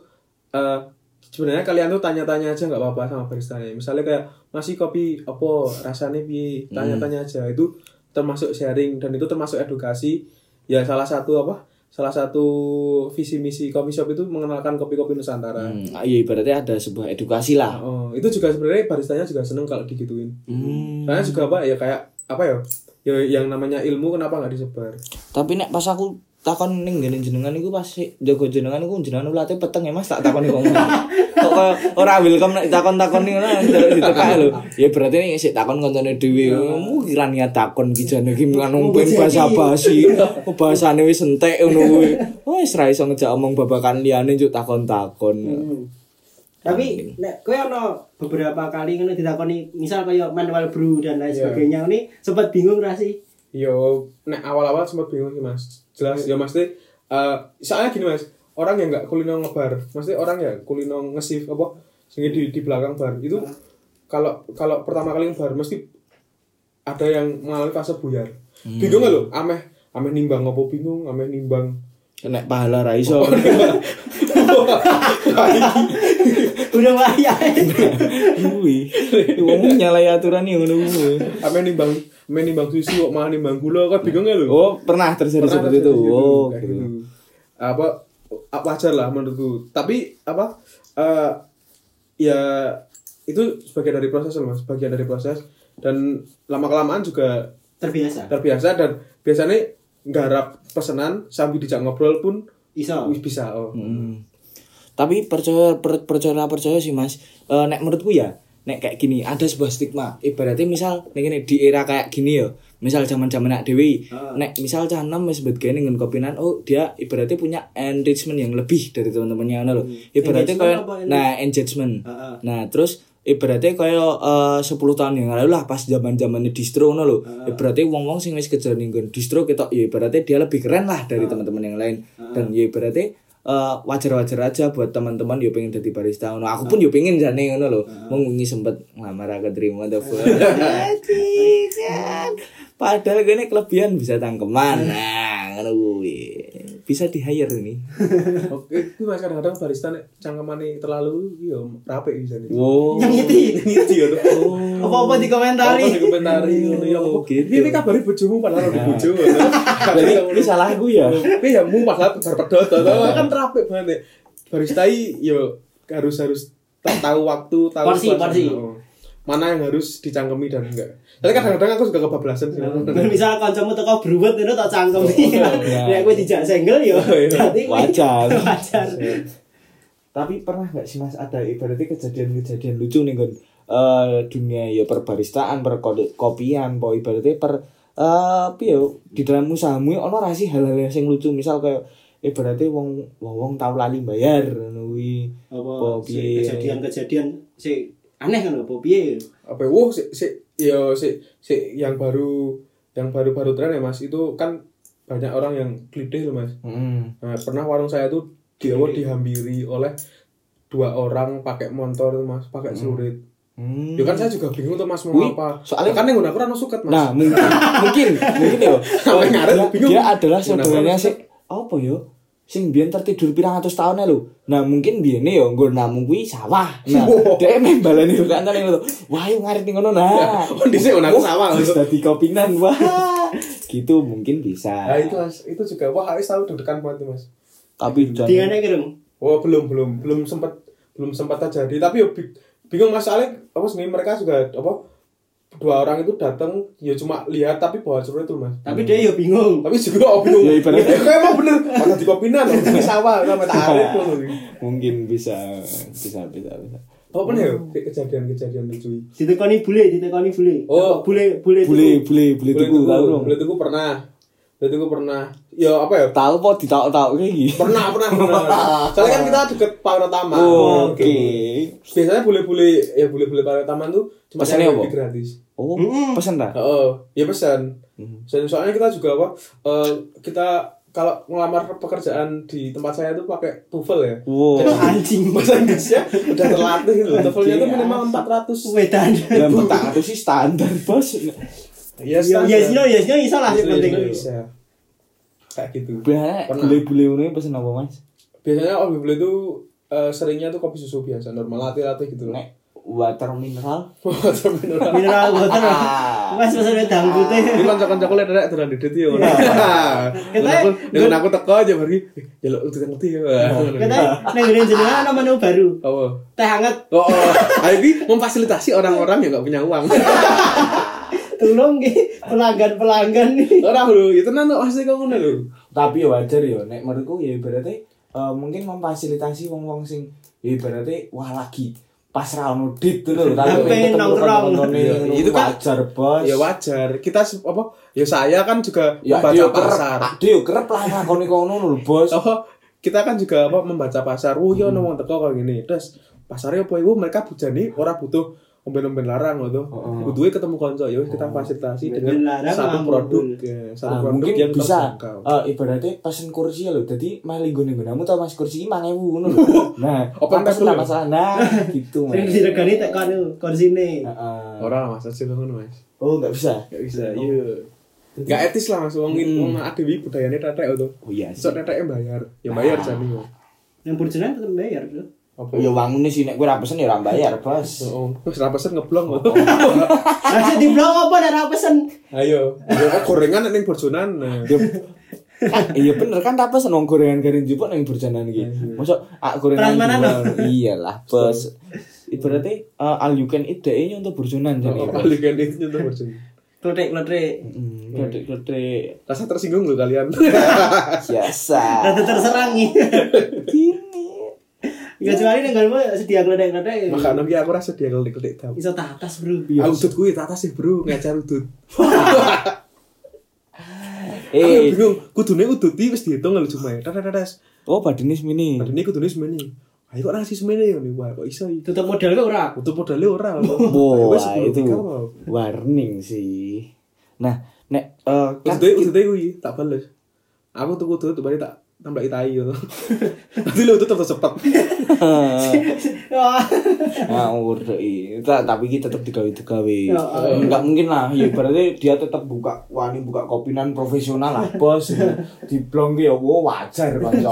[SPEAKER 3] eh, sebenarnya kalian tuh tanya-tanya aja nggak apa-apa sama baristanya misalnya kayak masih kopi apa rasanya piye
[SPEAKER 1] Hmm.
[SPEAKER 3] tanya-tanya aja itu termasuk sharing dan itu termasuk edukasi ya salah satu apa salah satu visi misi kopi shop itu mengenalkan kopi-kopi nusantara
[SPEAKER 1] hmm, ya ibaratnya ada sebuah edukasi lah
[SPEAKER 3] Oh, itu juga sebenarnya baristanya juga seneng kalau digituin
[SPEAKER 1] Hmm.
[SPEAKER 3] Soalnya juga apa ya kayak apa ya? Ya yang namanya ilmu kenapa nggak disebar?
[SPEAKER 1] tapi nek pas aku takon ning ngene jenengan iku pas sik jago jenengan iku jenengan ulate peteng ya Mas tak takoni kok ngono. Kok kaya ora welcome nek takon-takoni ngono njaluk ditekak lho. Ya berarti nek sik takon koncone dhewe mu kira niat takon ki jane ki ngono pengen bahasa basi. Bahasane wis entek ngono kuwi. Wis ra iso ngejak omong babakan liyane juk takon-takon.
[SPEAKER 2] Hmm. Tapi nek kowe ono beberapa kali ngono ditakoni misal kaya manual brew dan lain
[SPEAKER 3] Iya.
[SPEAKER 2] sebagainya ini sempat bingung ra sih?
[SPEAKER 3] Yo, nek awal-awal sempat bingung sih mas. Jelas ya mas Teh, eh, soalnya gini mas, orang yang nggak kulino ngebar, mesti orang ya kulino ngesif apa sehingga di di belakang bar itu kalau kalau pertama kali ngebar mesti ada yang mengalami fase buyar. Bingung nggak lo? Ameh ameh nimbang apa bingung, ameh nimbang.
[SPEAKER 1] Nek pahala ra iso.
[SPEAKER 3] Oh.
[SPEAKER 2] Udah wayahe.
[SPEAKER 1] Kuwi. Wong nyalai aturan iki ngono kuwi.
[SPEAKER 3] ameh nimbang, ameh nimbang susu kok malah nimbang gula kan bingung nggak lo?
[SPEAKER 1] Oh, pernah terjadi
[SPEAKER 3] Pernah
[SPEAKER 1] seperti itu.
[SPEAKER 3] terjadi gitu,
[SPEAKER 1] Oh,
[SPEAKER 3] kayak
[SPEAKER 1] gitu.
[SPEAKER 3] gitu. apa apa wajar lah menurutku tapi apa eh, ya itu sebagian dari proses loh mas bagian dari proses dan lama kelamaan juga
[SPEAKER 2] Terbiasa.
[SPEAKER 3] terbiasa dan biasanya nggarap pesanan sambil dijak ngobrol pun
[SPEAKER 2] Iso.
[SPEAKER 3] wis bisa oh
[SPEAKER 1] Hmm. tapi percaya per- percaya nggak percaya sih mas Eh, nek menurutku ya nek kayak gini ada sebuah stigma ibaratnya misal nek ini di era kayak gini ya misal zaman zaman nak dewi
[SPEAKER 2] Ah.
[SPEAKER 1] nek misal cah enam wis sebut gini dengan kopinan oh dia ibaratnya punya enrichment yang lebih dari teman-temannya ngono lho ibaratnya
[SPEAKER 2] Engagement
[SPEAKER 1] kayak
[SPEAKER 2] Hmm. apa enrich-
[SPEAKER 1] nah engagement
[SPEAKER 2] Ah, ah.
[SPEAKER 1] nah terus ibaratnya kayak eh, 10 tahun yang lalu lah pas zaman zamannya distro ngono lho ibaratnya wong-wong sing wis kejar ning nggon distro ketok ya ibaratnya dia lebih keren lah dari teman-teman yang lain dan ya ibaratnya eh, wajar-wajar aja buat teman-teman yo pengen jadi barista ngono aku pun yo pengen jane ngono lho Wong wingi sempet ngelamar aku terima the fuck padahal gue ini kelebihan bisa tangkeman nah ngono kuwi bisa di hire ini
[SPEAKER 3] oke itu mas kadang-kadang barista nek cangkemane terlalu yo rapi bisa nih
[SPEAKER 1] wow
[SPEAKER 2] Nyengiti.
[SPEAKER 3] ngiti yo tuh
[SPEAKER 1] Oh.
[SPEAKER 2] Apa-apa
[SPEAKER 3] Apa di
[SPEAKER 2] dikomentari.
[SPEAKER 3] komentari ngono ya apa
[SPEAKER 1] Gitu.
[SPEAKER 3] gitu. Ini kabarin bojomu padahal ora bojo.
[SPEAKER 1] jadi ini salah gue ya
[SPEAKER 3] Tapi ya mu masalah tebar pedot tau. kan rapi banget. Barista i yo harus harus tahu waktu, tahu
[SPEAKER 2] Porsi,
[SPEAKER 3] suasana.
[SPEAKER 2] porsi.
[SPEAKER 3] Oh. mana yang harus dicangkemi dan enggak. Tapi kadang-kadang aku juga kebablasan sih.
[SPEAKER 1] Hmm.
[SPEAKER 2] misal kancamu teko bruwet ngono tak cangkemi. Nek kowe dijak senggel yo berarti kowe-
[SPEAKER 1] Wajar. Iya.
[SPEAKER 2] Wajar.
[SPEAKER 1] Tapi pernah nggak sih Mas ada ibaratnya kejadian-kejadian lucu nih kan eh dunia ya perbaristaan, perkopian, po ibaratnya per eh piye ya, di dalam usahamu ya, ono ra sih hal-hal yang sing lucu misal kayak ibaratnya wong wong, wong tau lali bayar ngono kuwi. Apa,
[SPEAKER 2] Apa si
[SPEAKER 1] piye?
[SPEAKER 2] kejadian-kejadian si aneh kan apa piye?
[SPEAKER 3] Apa ya, wuh si, si, yo, si, si, yang baru yang baru-baru tren ya mas itu kan banyak orang yang klidih loh mas.
[SPEAKER 1] Heeh.
[SPEAKER 3] Nah, pernah warung saya tuh di awal dihampiri oleh dua orang pakai motor tuh, mas pakai celurit
[SPEAKER 1] Hmm.
[SPEAKER 3] ya kan saya juga bingung tuh mas mau
[SPEAKER 1] Wih,
[SPEAKER 3] apa
[SPEAKER 1] soalnya-
[SPEAKER 3] Ya kan yang udah kurang suket mas
[SPEAKER 1] Nah, mungkin mungkin mungkin yo.
[SPEAKER 3] Sampai ngaret,
[SPEAKER 1] Dia-
[SPEAKER 3] bingung.
[SPEAKER 1] Dia adalah
[SPEAKER 3] Kenapa?
[SPEAKER 1] saudaranya sih apa yo? Sing biyen tertidur pirang atus tahunnya lho. Nah, mungkin biyene yo nggo namu kuwi sawah. Nah, dhek meh baleni karo kancane ngono. Wah, yo ngarit ning ngono nah.
[SPEAKER 3] oh, dhisik ngono aku sawah.
[SPEAKER 1] Wis dadi kopinan wah. Gitu mungkin
[SPEAKER 3] nah
[SPEAKER 1] bisa.
[SPEAKER 3] itu mas itu juga wah harus tahu deg-degan banget tuh mas
[SPEAKER 1] Tapi jangan
[SPEAKER 2] Dingane kirung.
[SPEAKER 3] oh belum belum belum sempat belum sempat terjadi tapi ya bi- bingung mas soalnya apa sih mereka juga apa dua orang itu datang ya cuma lihat tapi bawa celurit tuh mas
[SPEAKER 2] Tapi dia yo bingung.
[SPEAKER 3] tapi juga oh, bingung
[SPEAKER 1] Ya,
[SPEAKER 3] ya,
[SPEAKER 1] ibaratnya. Iya.
[SPEAKER 3] kayak emang bener mana di kopinan di sawah sama tarik tuh
[SPEAKER 1] mungkin bisa bisa bisa bisa.
[SPEAKER 3] Oh, apa nih Kayak kejadian-kejadian lucu.
[SPEAKER 2] Ditekoni bule, ditekoni bule.
[SPEAKER 3] Oh.
[SPEAKER 2] bule bule.
[SPEAKER 1] Boleh boleh boleh tuku tau dong.
[SPEAKER 3] Boleh tuku pernah. Boleh tuku pernah. Ya apa ya?
[SPEAKER 1] Tau po ditak-tak iki.
[SPEAKER 3] Pernah, pernah, pernah. Soalnya kan kita deket Paratama.
[SPEAKER 1] Oh, Oke.
[SPEAKER 3] Biasanya boleh-boleh ya boleh-boleh Paratama tuh cuma
[SPEAKER 1] Pesannya
[SPEAKER 3] yang
[SPEAKER 1] apa?
[SPEAKER 3] lebih gratis.
[SPEAKER 1] Oh,
[SPEAKER 2] Mm-mm.
[SPEAKER 1] pesen ta?
[SPEAKER 3] Oh, ya pesan. Pesan. Soalnya kita juga apa? eh, kita kalau ngelamar pekerjaan di tempat saya tuh pakai TOEFL ya.
[SPEAKER 1] Wow.
[SPEAKER 3] Jadi,
[SPEAKER 2] Anjing.
[SPEAKER 3] bahasa Inggrisnya udah terlatih gitu. loh. TOEFL-nya tuh minimal 400.
[SPEAKER 2] Wedan.
[SPEAKER 1] Ya petang itu sih standar bos.
[SPEAKER 3] Iya,
[SPEAKER 2] Yo
[SPEAKER 3] standar.
[SPEAKER 2] yes no yes no ya, iso lah sing
[SPEAKER 3] Iya,
[SPEAKER 2] penting.
[SPEAKER 3] iya, bisa. Kayak gitu.
[SPEAKER 1] Biasanya
[SPEAKER 3] Pernah.
[SPEAKER 1] bule-bule ini pesen apa mas?
[SPEAKER 3] Biasanya Om Bibel itu eh, seringnya tuh kopi susu biasa, normal latte-latte gitu loh.
[SPEAKER 1] Nek water mineral.
[SPEAKER 3] Water mineral.
[SPEAKER 2] Mineral water.
[SPEAKER 1] Ah.
[SPEAKER 2] Mas pesen wedang putih.
[SPEAKER 3] Ini kanca-kancaku lek rek dolan didit ya.
[SPEAKER 1] Iya.
[SPEAKER 3] Kita
[SPEAKER 2] Kita-
[SPEAKER 3] aku dengan aku teko aja bari. "Eh, Jaluk udah ngerti ya.
[SPEAKER 1] Iya.
[SPEAKER 2] Katanya ning ngene jenengan ana menu baru.
[SPEAKER 3] Apa?
[SPEAKER 2] Teh hangat
[SPEAKER 3] Oh, oh. Ah, ini memfasilitasi orang-orang yang gak punya uang.
[SPEAKER 2] tolong nggih pelanggan-pelanggan nih.
[SPEAKER 3] Orang lu, itu nanti pasti kau ngono lho.
[SPEAKER 1] Tapi ya wajar ya. Nek menurutku ya berarti mungkin memfasilitasi wong-wong sing ya berarti wah lagi pas rano dit itu loh. Tapi
[SPEAKER 2] Tapi
[SPEAKER 1] untuk
[SPEAKER 2] nongkrong.
[SPEAKER 1] nonton-nonton
[SPEAKER 3] Iya,
[SPEAKER 1] ini,
[SPEAKER 3] itu kan-
[SPEAKER 1] wajar bos.
[SPEAKER 3] Ya wajar. Kita se- apa? Ya saya kan juga
[SPEAKER 1] Ya
[SPEAKER 3] membaca
[SPEAKER 1] dia
[SPEAKER 3] pasar.
[SPEAKER 1] kerep, dia kerep lah ngakoni kono lho bos.
[SPEAKER 3] oh kita kan juga apa membaca pasar oh yo ono wong teko kok gini terus pasarnya apa ibu mereka bujani ora butuh omben-omben larang gitu
[SPEAKER 1] Oh.
[SPEAKER 3] butuhnya ketemu konco ya wis, kita fasilitasi
[SPEAKER 2] Omben-omben
[SPEAKER 3] dengan
[SPEAKER 2] larang
[SPEAKER 3] satu
[SPEAKER 2] mampu.
[SPEAKER 3] produk ya, satu
[SPEAKER 1] Nah,
[SPEAKER 3] produk
[SPEAKER 1] mungkin
[SPEAKER 3] yang
[SPEAKER 1] bisa
[SPEAKER 3] terjangkau
[SPEAKER 1] eh, ibaratnya pesen kursi ya lho. Jadi mah linggo ning gunamu tau Mas kursi iki 1000 ngono lho. Nah,
[SPEAKER 3] Open
[SPEAKER 1] pantes
[SPEAKER 3] table
[SPEAKER 1] lah
[SPEAKER 3] ya?
[SPEAKER 1] masalah nah gitu.
[SPEAKER 2] Sing
[SPEAKER 1] Mas.
[SPEAKER 2] diregani tek kono korsine.
[SPEAKER 1] Heeh.
[SPEAKER 3] orang lah masa sih ngono mas
[SPEAKER 1] Oh, nggak bisa.
[SPEAKER 3] gak bisa iya gak etis lah mas wong wong nak dewi budayanya tetek itu
[SPEAKER 1] Oh iya sih.
[SPEAKER 3] so teteknya bayar ya bayar jadi yo
[SPEAKER 2] Yang burjonan tetep bayar lho.
[SPEAKER 3] apa
[SPEAKER 1] Ya wangune sih nek kowe ra pesen ya ora bayar, Bos.
[SPEAKER 3] Oh, terus rapasan ngeblong kok.
[SPEAKER 2] Lah sing diblok apa nek ora pesen?
[SPEAKER 3] Ayo, Ya, gorengan ning bojonan. nah.
[SPEAKER 1] Ya, kan, iya bener kan tak pesen nong gorengan garing jupuk nang burjanan
[SPEAKER 3] Iya,
[SPEAKER 1] iki. Mosok ak gorengan.
[SPEAKER 2] Prasmanan
[SPEAKER 1] jual. Iyalah, Bos. Ibaratnya eh, all you can eat deh untuk burjanan jadi.
[SPEAKER 3] Oh, kali kan itu tuh bojonan.
[SPEAKER 2] Klothek-klothek.
[SPEAKER 1] Hmm, kredit-kredit
[SPEAKER 3] Rasa tersinggung loh kalian.
[SPEAKER 1] biasa.
[SPEAKER 2] Rada terserang iki.
[SPEAKER 1] Gini.
[SPEAKER 2] Kecuali ning nggonmu sedia klothek-klothek.
[SPEAKER 3] Makanan ki aku rasa dia kelik kelik tahu.
[SPEAKER 2] Iso tatas, Bro.
[SPEAKER 3] Aku udut kuwi tak atas sih, Bro, ngajar udut. Aku
[SPEAKER 1] Eh,
[SPEAKER 3] bingung, kudune udut iki wis dihitung lho cuma. Tetes.
[SPEAKER 1] oh badine semini.
[SPEAKER 3] Padahal ini kudune semene. Ayo kok nasi semene ya nih, wah kok iso iki.
[SPEAKER 2] Tutup modal kok ora.
[SPEAKER 3] Utuh modalnya ora.
[SPEAKER 1] Wah,
[SPEAKER 3] Wis sepuluh
[SPEAKER 1] itu
[SPEAKER 3] tiga, Bro.
[SPEAKER 1] warning sih. Nah, nek eh, kan
[SPEAKER 3] Udutnya udutnya kuwi tak bales. Aku tuh udut bari tak tambah itai gitu. Nanti lu udut terus cepet.
[SPEAKER 2] Wah.
[SPEAKER 1] ngawur Ah, doi Ta- tapi kita tetap digawe digawe
[SPEAKER 2] Ya,
[SPEAKER 1] nggak mungkin lah ya berarti dia tetap buka wani buka kopinan profesional lah bos di blong ya wo wajar kanca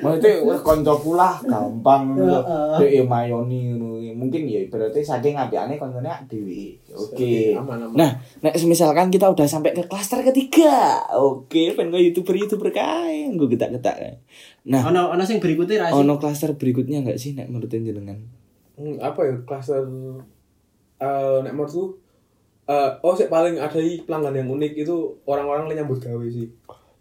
[SPEAKER 1] maksudnya wah, kanca pula gampang
[SPEAKER 2] Ya, eh.
[SPEAKER 1] dek ya mayoni ngono. mungkin ya berarti saking ngapiane kancane dhewe oke
[SPEAKER 3] Aman, aman.
[SPEAKER 1] nah nek misalkan kita udah sampai ke klaster ketiga oke pengen gue youtuber youtuber kae gue getak getak nah
[SPEAKER 2] Ono ono sing berikutnya ra sih.
[SPEAKER 1] ono klaster berikutnya nggak sih nek menurut jenengan
[SPEAKER 3] Hmm, apa ya klaster eh nek menurutku eh oh sih paling ada pelanggan yang unik itu orang-orang yang nyambut gawe sih.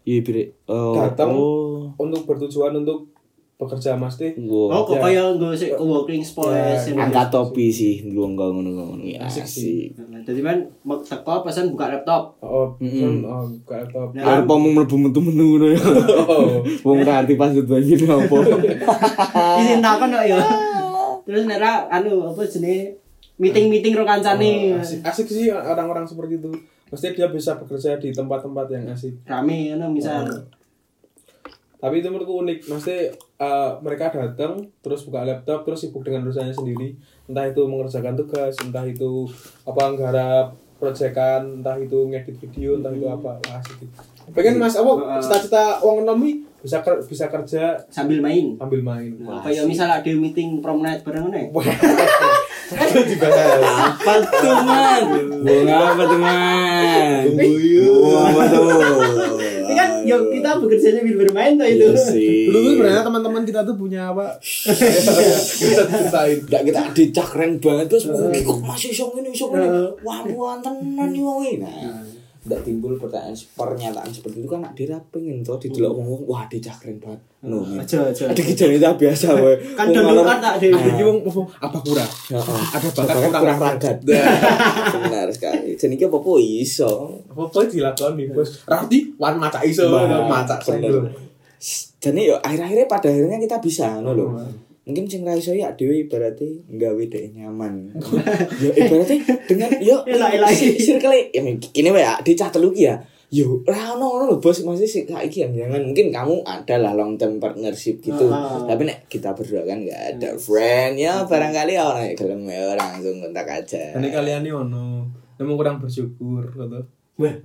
[SPEAKER 1] Iya, Bre. Oh,
[SPEAKER 3] Datang.
[SPEAKER 1] oh. Hmm.
[SPEAKER 3] Untuk bertujuan untuk bekerja mesti.
[SPEAKER 1] Wow.
[SPEAKER 2] Oh, kok
[SPEAKER 3] Ya.
[SPEAKER 2] kayak nggak sih ke working space
[SPEAKER 3] Ya,
[SPEAKER 2] ini.
[SPEAKER 1] Angkat topi sih, gua enggak ngono-ngono. Ya,
[SPEAKER 3] Asik
[SPEAKER 1] sih.
[SPEAKER 3] sih.
[SPEAKER 2] Jadi kan mau teko pesan buka laptop.
[SPEAKER 3] Oh,
[SPEAKER 1] Mm-mm.
[SPEAKER 3] mm oh, buka laptop.
[SPEAKER 2] Nah.
[SPEAKER 1] Kalau pomong mlebu metu-metu ngono ya.
[SPEAKER 3] Oh,
[SPEAKER 1] Wong ra arti pas banjir ya apa.
[SPEAKER 2] Izin takon kok ya. Terus nera anu apa jenenge meeting-meeting ro kancane.
[SPEAKER 3] Oh, asik, asik sih orang-orang seperti itu. Mesti dia bisa bekerja di tempat-tempat yang asik.
[SPEAKER 2] Rame ngono misal.
[SPEAKER 3] Tapi itu menurutku unik. Mesti eh, mereka datang, terus buka laptop, terus sibuk dengan urusannya sendiri. Entah itu mengerjakan tugas, entah itu apa nggarap proyekan, entah itu ngedit video, entah itu apa. Wah, asik. Pengen Mas, apa
[SPEAKER 2] Eh.
[SPEAKER 3] cita-cita uang ekonomi bisa ker- bisa kerja
[SPEAKER 2] sambil main.
[SPEAKER 3] sambil main. Wah.
[SPEAKER 2] Kayak misal ada meeting prom night bareng ngono. ya.
[SPEAKER 3] Itu dibahas.
[SPEAKER 1] Apa tuh, Man? Wong apa tuh, Man? Wong apa tuh?
[SPEAKER 2] Ini kan ya kita bekerja sambil bermain tuh itu.
[SPEAKER 1] Iya sih.
[SPEAKER 3] Dulu tuh sebenarnya teman-teman kita tuh punya apa? Iya. Kita ceritain.
[SPEAKER 1] Nggak kita dicak keren banget terus mungkin kok masih iso ngene iso ngene. Wah, buan tenan iki wae. Nah, ndak timbul pertanyaan pernyataan seperti itu kan nak dira pengen to didelok wong wah dicak keren banget. Nah, No. men.
[SPEAKER 2] Aja aja.
[SPEAKER 1] Ada kijane tak biasa wae.
[SPEAKER 2] Kan
[SPEAKER 1] Wong ngalor-
[SPEAKER 2] dadakan tak dhewe.
[SPEAKER 3] Jadi wong ngomong apa kurang?
[SPEAKER 1] Heeh.
[SPEAKER 3] Ada bakat
[SPEAKER 1] Bakat
[SPEAKER 3] kurang
[SPEAKER 1] Ah, kurang
[SPEAKER 3] ragat.
[SPEAKER 1] ragat. Benar sekali. Jenenge apa-apa iso.
[SPEAKER 3] Apa dilakoni bos? Rati wan maca iso,
[SPEAKER 1] Wah,
[SPEAKER 3] maca
[SPEAKER 1] bener.
[SPEAKER 3] sendul.
[SPEAKER 1] Jadi ya akhir-akhirnya pada akhirnya kita bisa ngono lho.
[SPEAKER 3] Hmm.
[SPEAKER 1] Mungkin sing ra iso ya dhewe ibarate nggawe dhek nyaman. ya ibarate dengan yo
[SPEAKER 3] Ya,
[SPEAKER 2] Elak-elak.
[SPEAKER 3] iya.
[SPEAKER 1] si- circle ya kene wae ya dicah telu ki ya. Yo ra ono ngono lho bos masih sik saiki yang jangan mungkin kamu adalah long term partnership gitu.
[SPEAKER 2] Ah.
[SPEAKER 1] Tapi nek kita berdua kan enggak
[SPEAKER 3] Iya.
[SPEAKER 1] ada friend ya barangkali orang yang gelem ya langsung kontak aja.
[SPEAKER 3] Hmm. Ini kan- kalian nih ono. Emang kurang bersyukur gitu.
[SPEAKER 2] Wah.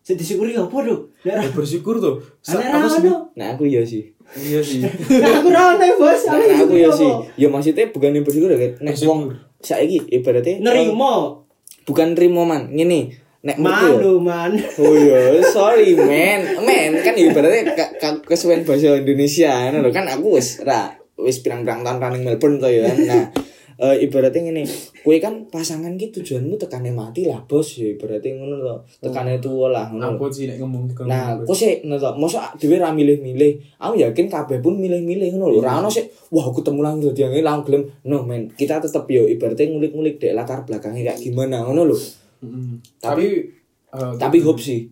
[SPEAKER 2] Sing disyukuri apa tuh? Ya
[SPEAKER 3] Ya, bersyukur tuh. Sa-
[SPEAKER 2] ana ra
[SPEAKER 3] aku
[SPEAKER 2] ono.
[SPEAKER 3] sendiri-
[SPEAKER 1] Nah aku ya sih.
[SPEAKER 3] Iya sih.
[SPEAKER 2] Nah, aku ra ono bos.
[SPEAKER 1] Nah,
[SPEAKER 2] Aku
[SPEAKER 1] aku ya
[SPEAKER 2] disyukuri
[SPEAKER 1] sih.
[SPEAKER 2] apa?
[SPEAKER 1] Ya maksudnya bukan yang bersyukur ya. Nek
[SPEAKER 3] Bersyukur.
[SPEAKER 1] wong saiki ibaratnya
[SPEAKER 2] Nerimo.
[SPEAKER 1] bukan Rimo man ngene nek
[SPEAKER 2] Man
[SPEAKER 1] menurutku ya-
[SPEAKER 2] lu man.
[SPEAKER 1] oh iya sorry men men kan ibaratnya ka, ka, kesuwen bahasa Indonesia ngono lho. kan aku wis ra wis pirang-pirang tahun running Melbourne to ya kan. nah eh, ibaratnya ngene kowe kan pasangan ki tujuanmu tekane mati lah bos ya ibaratnya ngono to tekane tuwa lah ngono lho.
[SPEAKER 3] Aku sih nek ngomong ke
[SPEAKER 1] Nah, Oh. aku sih ngono to. Mosok dhewe ra milih-milih. Aku yakin kabeh pun milih-milih ngono lho. Ora ono sih wah aku ketemu lang dadi angel lang gelem. No men, kita tetep yo ibaratnya ngulik-ngulik dek latar belakangnya kayak gimana ngono lho.
[SPEAKER 3] Mm-mm.
[SPEAKER 1] Tapi-
[SPEAKER 3] Tapi eh,
[SPEAKER 1] Tapi hope sih.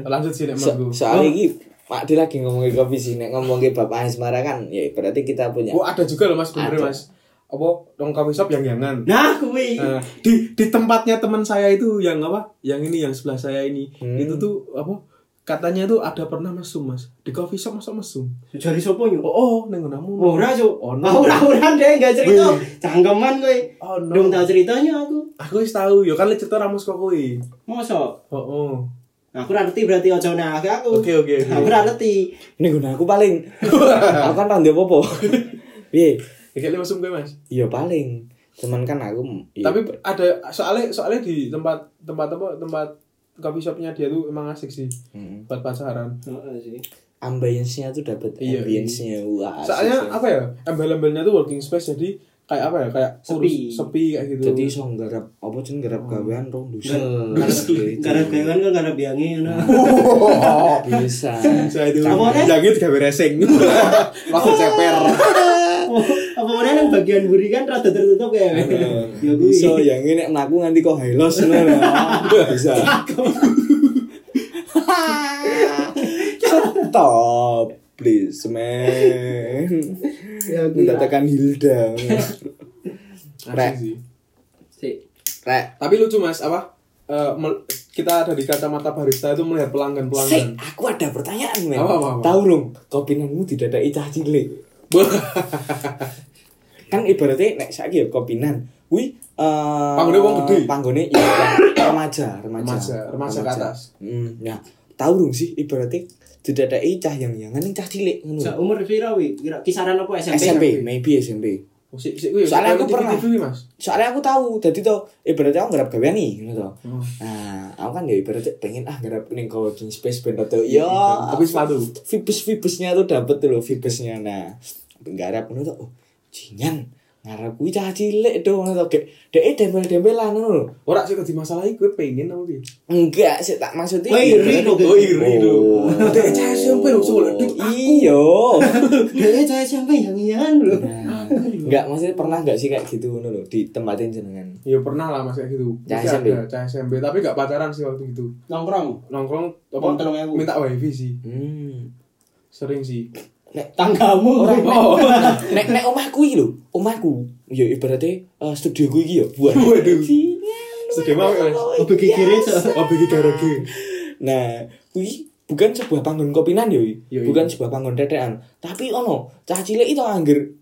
[SPEAKER 3] lanjut sih nek
[SPEAKER 1] So,
[SPEAKER 3] menurutku.
[SPEAKER 1] soalnya ini Pak Di lagi ngomongin kopi sih, nek ngomongin Bapak Asmara kan, ya berarti kita punya.
[SPEAKER 3] Oh, ada juga loh Mas bener
[SPEAKER 1] Ada.
[SPEAKER 3] Mas. Apa dong coffee shop yang yangan.
[SPEAKER 2] Nah, kuwi.
[SPEAKER 1] Iya.
[SPEAKER 3] Nah, di di tempatnya teman saya itu yang apa yang ini yang sebelah saya ini
[SPEAKER 1] Hmm.
[SPEAKER 3] itu tuh apa katanya tuh ada pernah mesum mas di coffee shop masuk mesum
[SPEAKER 2] Jari sopo yo?
[SPEAKER 3] oh oh neng namu
[SPEAKER 2] Ora cuk.
[SPEAKER 3] Ono.
[SPEAKER 1] Oh,
[SPEAKER 2] Ora ora deh enggak cerita. Cangkeman kowe.
[SPEAKER 3] oh
[SPEAKER 2] Dong
[SPEAKER 3] no
[SPEAKER 2] tahu ceritanya aku.
[SPEAKER 3] aku wis tahu yo kan cerita ramus kok kui
[SPEAKER 2] Mosok.
[SPEAKER 3] oh oh
[SPEAKER 2] Aku ra ngerti berarti ojo nek aku.
[SPEAKER 3] oke oke oke
[SPEAKER 2] Aku ra ngerti.
[SPEAKER 1] Ini guna aku paling. aku kan pandai popo. Iya,
[SPEAKER 3] Kayak lu mesum gue mas
[SPEAKER 1] iya paling. Cuman kan aku. iya.
[SPEAKER 3] tapi ada soalnya soalnya di tempat tempat apa tempat coffee shopnya dia tuh emang asik sih
[SPEAKER 1] Mm.
[SPEAKER 3] buat pacaran
[SPEAKER 2] Heeh sih.
[SPEAKER 1] ambience-nya tuh dapat
[SPEAKER 3] Iya, iya.
[SPEAKER 1] ambience-nya wah. asik
[SPEAKER 3] soalnya
[SPEAKER 1] sih.
[SPEAKER 3] apa ya embel-embelnya tuh working space jadi kayak apa ya kayak
[SPEAKER 2] Sepi.
[SPEAKER 3] urus- sepi kayak gitu
[SPEAKER 1] jadi iso nggarap apa jeneng nggarap
[SPEAKER 3] Oh.
[SPEAKER 1] gawean rong dusel.
[SPEAKER 2] Karep- Karep gawean kan karep biangi ngono.
[SPEAKER 1] Oh, Bisa.
[SPEAKER 3] saya itu
[SPEAKER 2] Apa nih?
[SPEAKER 3] yang itu gawe racing waktu ceper
[SPEAKER 2] Oh, Apa mana yang bagian buri kan rada tertutup ya.
[SPEAKER 1] Eh,
[SPEAKER 2] Ya kuwi.
[SPEAKER 1] Bisa yang ini nek mlaku nganti kok helos ngono. Bisa. Stop, please, man.
[SPEAKER 2] Ya kuwi.
[SPEAKER 1] Tidak tekan Hilda. Rek.
[SPEAKER 3] sih
[SPEAKER 2] Sik.
[SPEAKER 1] Rek.
[SPEAKER 3] tapi lucu mas apa Eh, mel- kita dari kacamata barista itu melihat
[SPEAKER 1] Sik,
[SPEAKER 3] pelanggan pelanggan
[SPEAKER 1] aku ada pertanyaan, men.
[SPEAKER 3] Apa, apa, apa?
[SPEAKER 1] Tahu dong, kopinanmu tidak ada icah cilik. Kan ibaratnya nek saiki ya kopinan. Kuwi eh
[SPEAKER 3] Panggone wong gede.
[SPEAKER 1] Panggone iya, remaja, remaja.
[SPEAKER 3] Remaja, remaja ke atas.
[SPEAKER 1] Hmm, ya. Tahu dong sih ibaratnya tidak ada icah yang yang ning cah cilik ngono.
[SPEAKER 2] Sak umur pira wi? Kira kisaran apa SMP?
[SPEAKER 1] SMP, maybe SMP.
[SPEAKER 3] Oh, sik, sik, wih,
[SPEAKER 1] Soalnya aku
[SPEAKER 3] TV,
[SPEAKER 1] pernah.
[SPEAKER 3] TV, mas
[SPEAKER 1] soalnya aku tahu jadi tuh ibaratnya aku ngarep gawean nih gitu toh.
[SPEAKER 3] Hmm.
[SPEAKER 1] nah aku kan ya ibaratnya pengen ah ngarep ning coworking space ben tuh ya
[SPEAKER 3] Iya, tapi sepatu
[SPEAKER 1] vibes vibesnya tuh dapet tuh loh vibesnya nah ngarep ngono tuh oh jingan ngarep kuwi cah cilik dong atau dek dek eh, dempel-dempelan ngono lho.
[SPEAKER 3] Ora sih kok dimasalahi gue pengen apa piye?
[SPEAKER 1] Enggak sih tak maksudnya.
[SPEAKER 2] Oh, iri dong.
[SPEAKER 3] Oh iri
[SPEAKER 1] Oh.
[SPEAKER 3] lho. Dek cah SMP lho soalnya dek aku.
[SPEAKER 1] Iya.
[SPEAKER 2] Dia cah SMP yang ian lho.
[SPEAKER 1] Nah,
[SPEAKER 3] iya.
[SPEAKER 1] Enggak maksudnya pernah enggak sih kayak gitu ngono lho ditempatin jenengan.
[SPEAKER 3] Ya pernah lah mas kayak gitu.
[SPEAKER 1] Cah
[SPEAKER 3] Pasti
[SPEAKER 1] SMP.
[SPEAKER 3] ada, Cah SMP tapi gak pacaran sih waktu itu.
[SPEAKER 2] Nongkrong
[SPEAKER 3] Nongkrong apa?
[SPEAKER 2] Uang 3.000.
[SPEAKER 3] Minta wifi sih.
[SPEAKER 1] Hmm.
[SPEAKER 3] Sering sih.
[SPEAKER 2] tanggamu.
[SPEAKER 3] Oh.
[SPEAKER 1] Nek nek omahku iki lho, omahku. Ya ibaratnya eh, studio ku iki ya buat.
[SPEAKER 3] Waduh. eh,
[SPEAKER 1] Sini,
[SPEAKER 3] Sedih banget. Mas.
[SPEAKER 2] Oh, bagi kiri so.
[SPEAKER 3] Oh bagi garage.
[SPEAKER 1] Nah, kuwi bukan sebuah panggon kopinan yo, iki.
[SPEAKER 3] Yo, iya.
[SPEAKER 1] bukan sebuah panggon tetean, tapi ono cah cilik itu angger.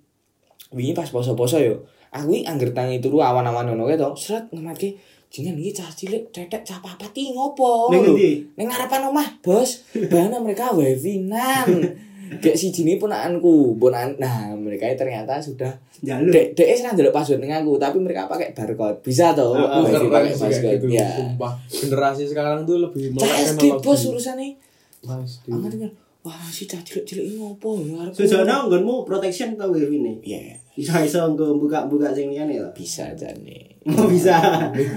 [SPEAKER 1] Wingi pas poso-poso yo, aku iki angger tangi turu awan-awan ono ketok, sret ngematke jenengan iki cah cilik tetek cah papat iki ngopo?
[SPEAKER 2] Ning
[SPEAKER 1] lho?"
[SPEAKER 2] endi?
[SPEAKER 1] Ning ngarepan omah, Bos. Bahana mereka wifi-nan. Dek si jini ponakanku, ponakan. Nah, mereka ternyata sudah
[SPEAKER 2] Jalur.
[SPEAKER 1] Dek, dek sekarang dulu password dengan aku, tapi mereka pakai barcode. Bisa toh,
[SPEAKER 2] Ah,
[SPEAKER 3] Aku
[SPEAKER 1] wifi
[SPEAKER 2] wifi
[SPEAKER 3] keren
[SPEAKER 1] pakai
[SPEAKER 3] sih kayak
[SPEAKER 1] barcode.
[SPEAKER 3] gitu.
[SPEAKER 1] Ya.
[SPEAKER 3] Sumpah. Generasi sekarang tuh lebih
[SPEAKER 1] Cah
[SPEAKER 3] melek
[SPEAKER 1] SD
[SPEAKER 3] teknologi.
[SPEAKER 1] bos urusannya
[SPEAKER 3] Cah SD.
[SPEAKER 1] Aku dengar, wah si cah cilik-cilik ini ngopo ya arep-
[SPEAKER 2] Sejana nggonmu protection tau wifi ini.
[SPEAKER 1] Ya,
[SPEAKER 2] Bisa iso nggo buka-buka sing liyane lho.
[SPEAKER 1] bisa aja nih.
[SPEAKER 2] Mau bisa.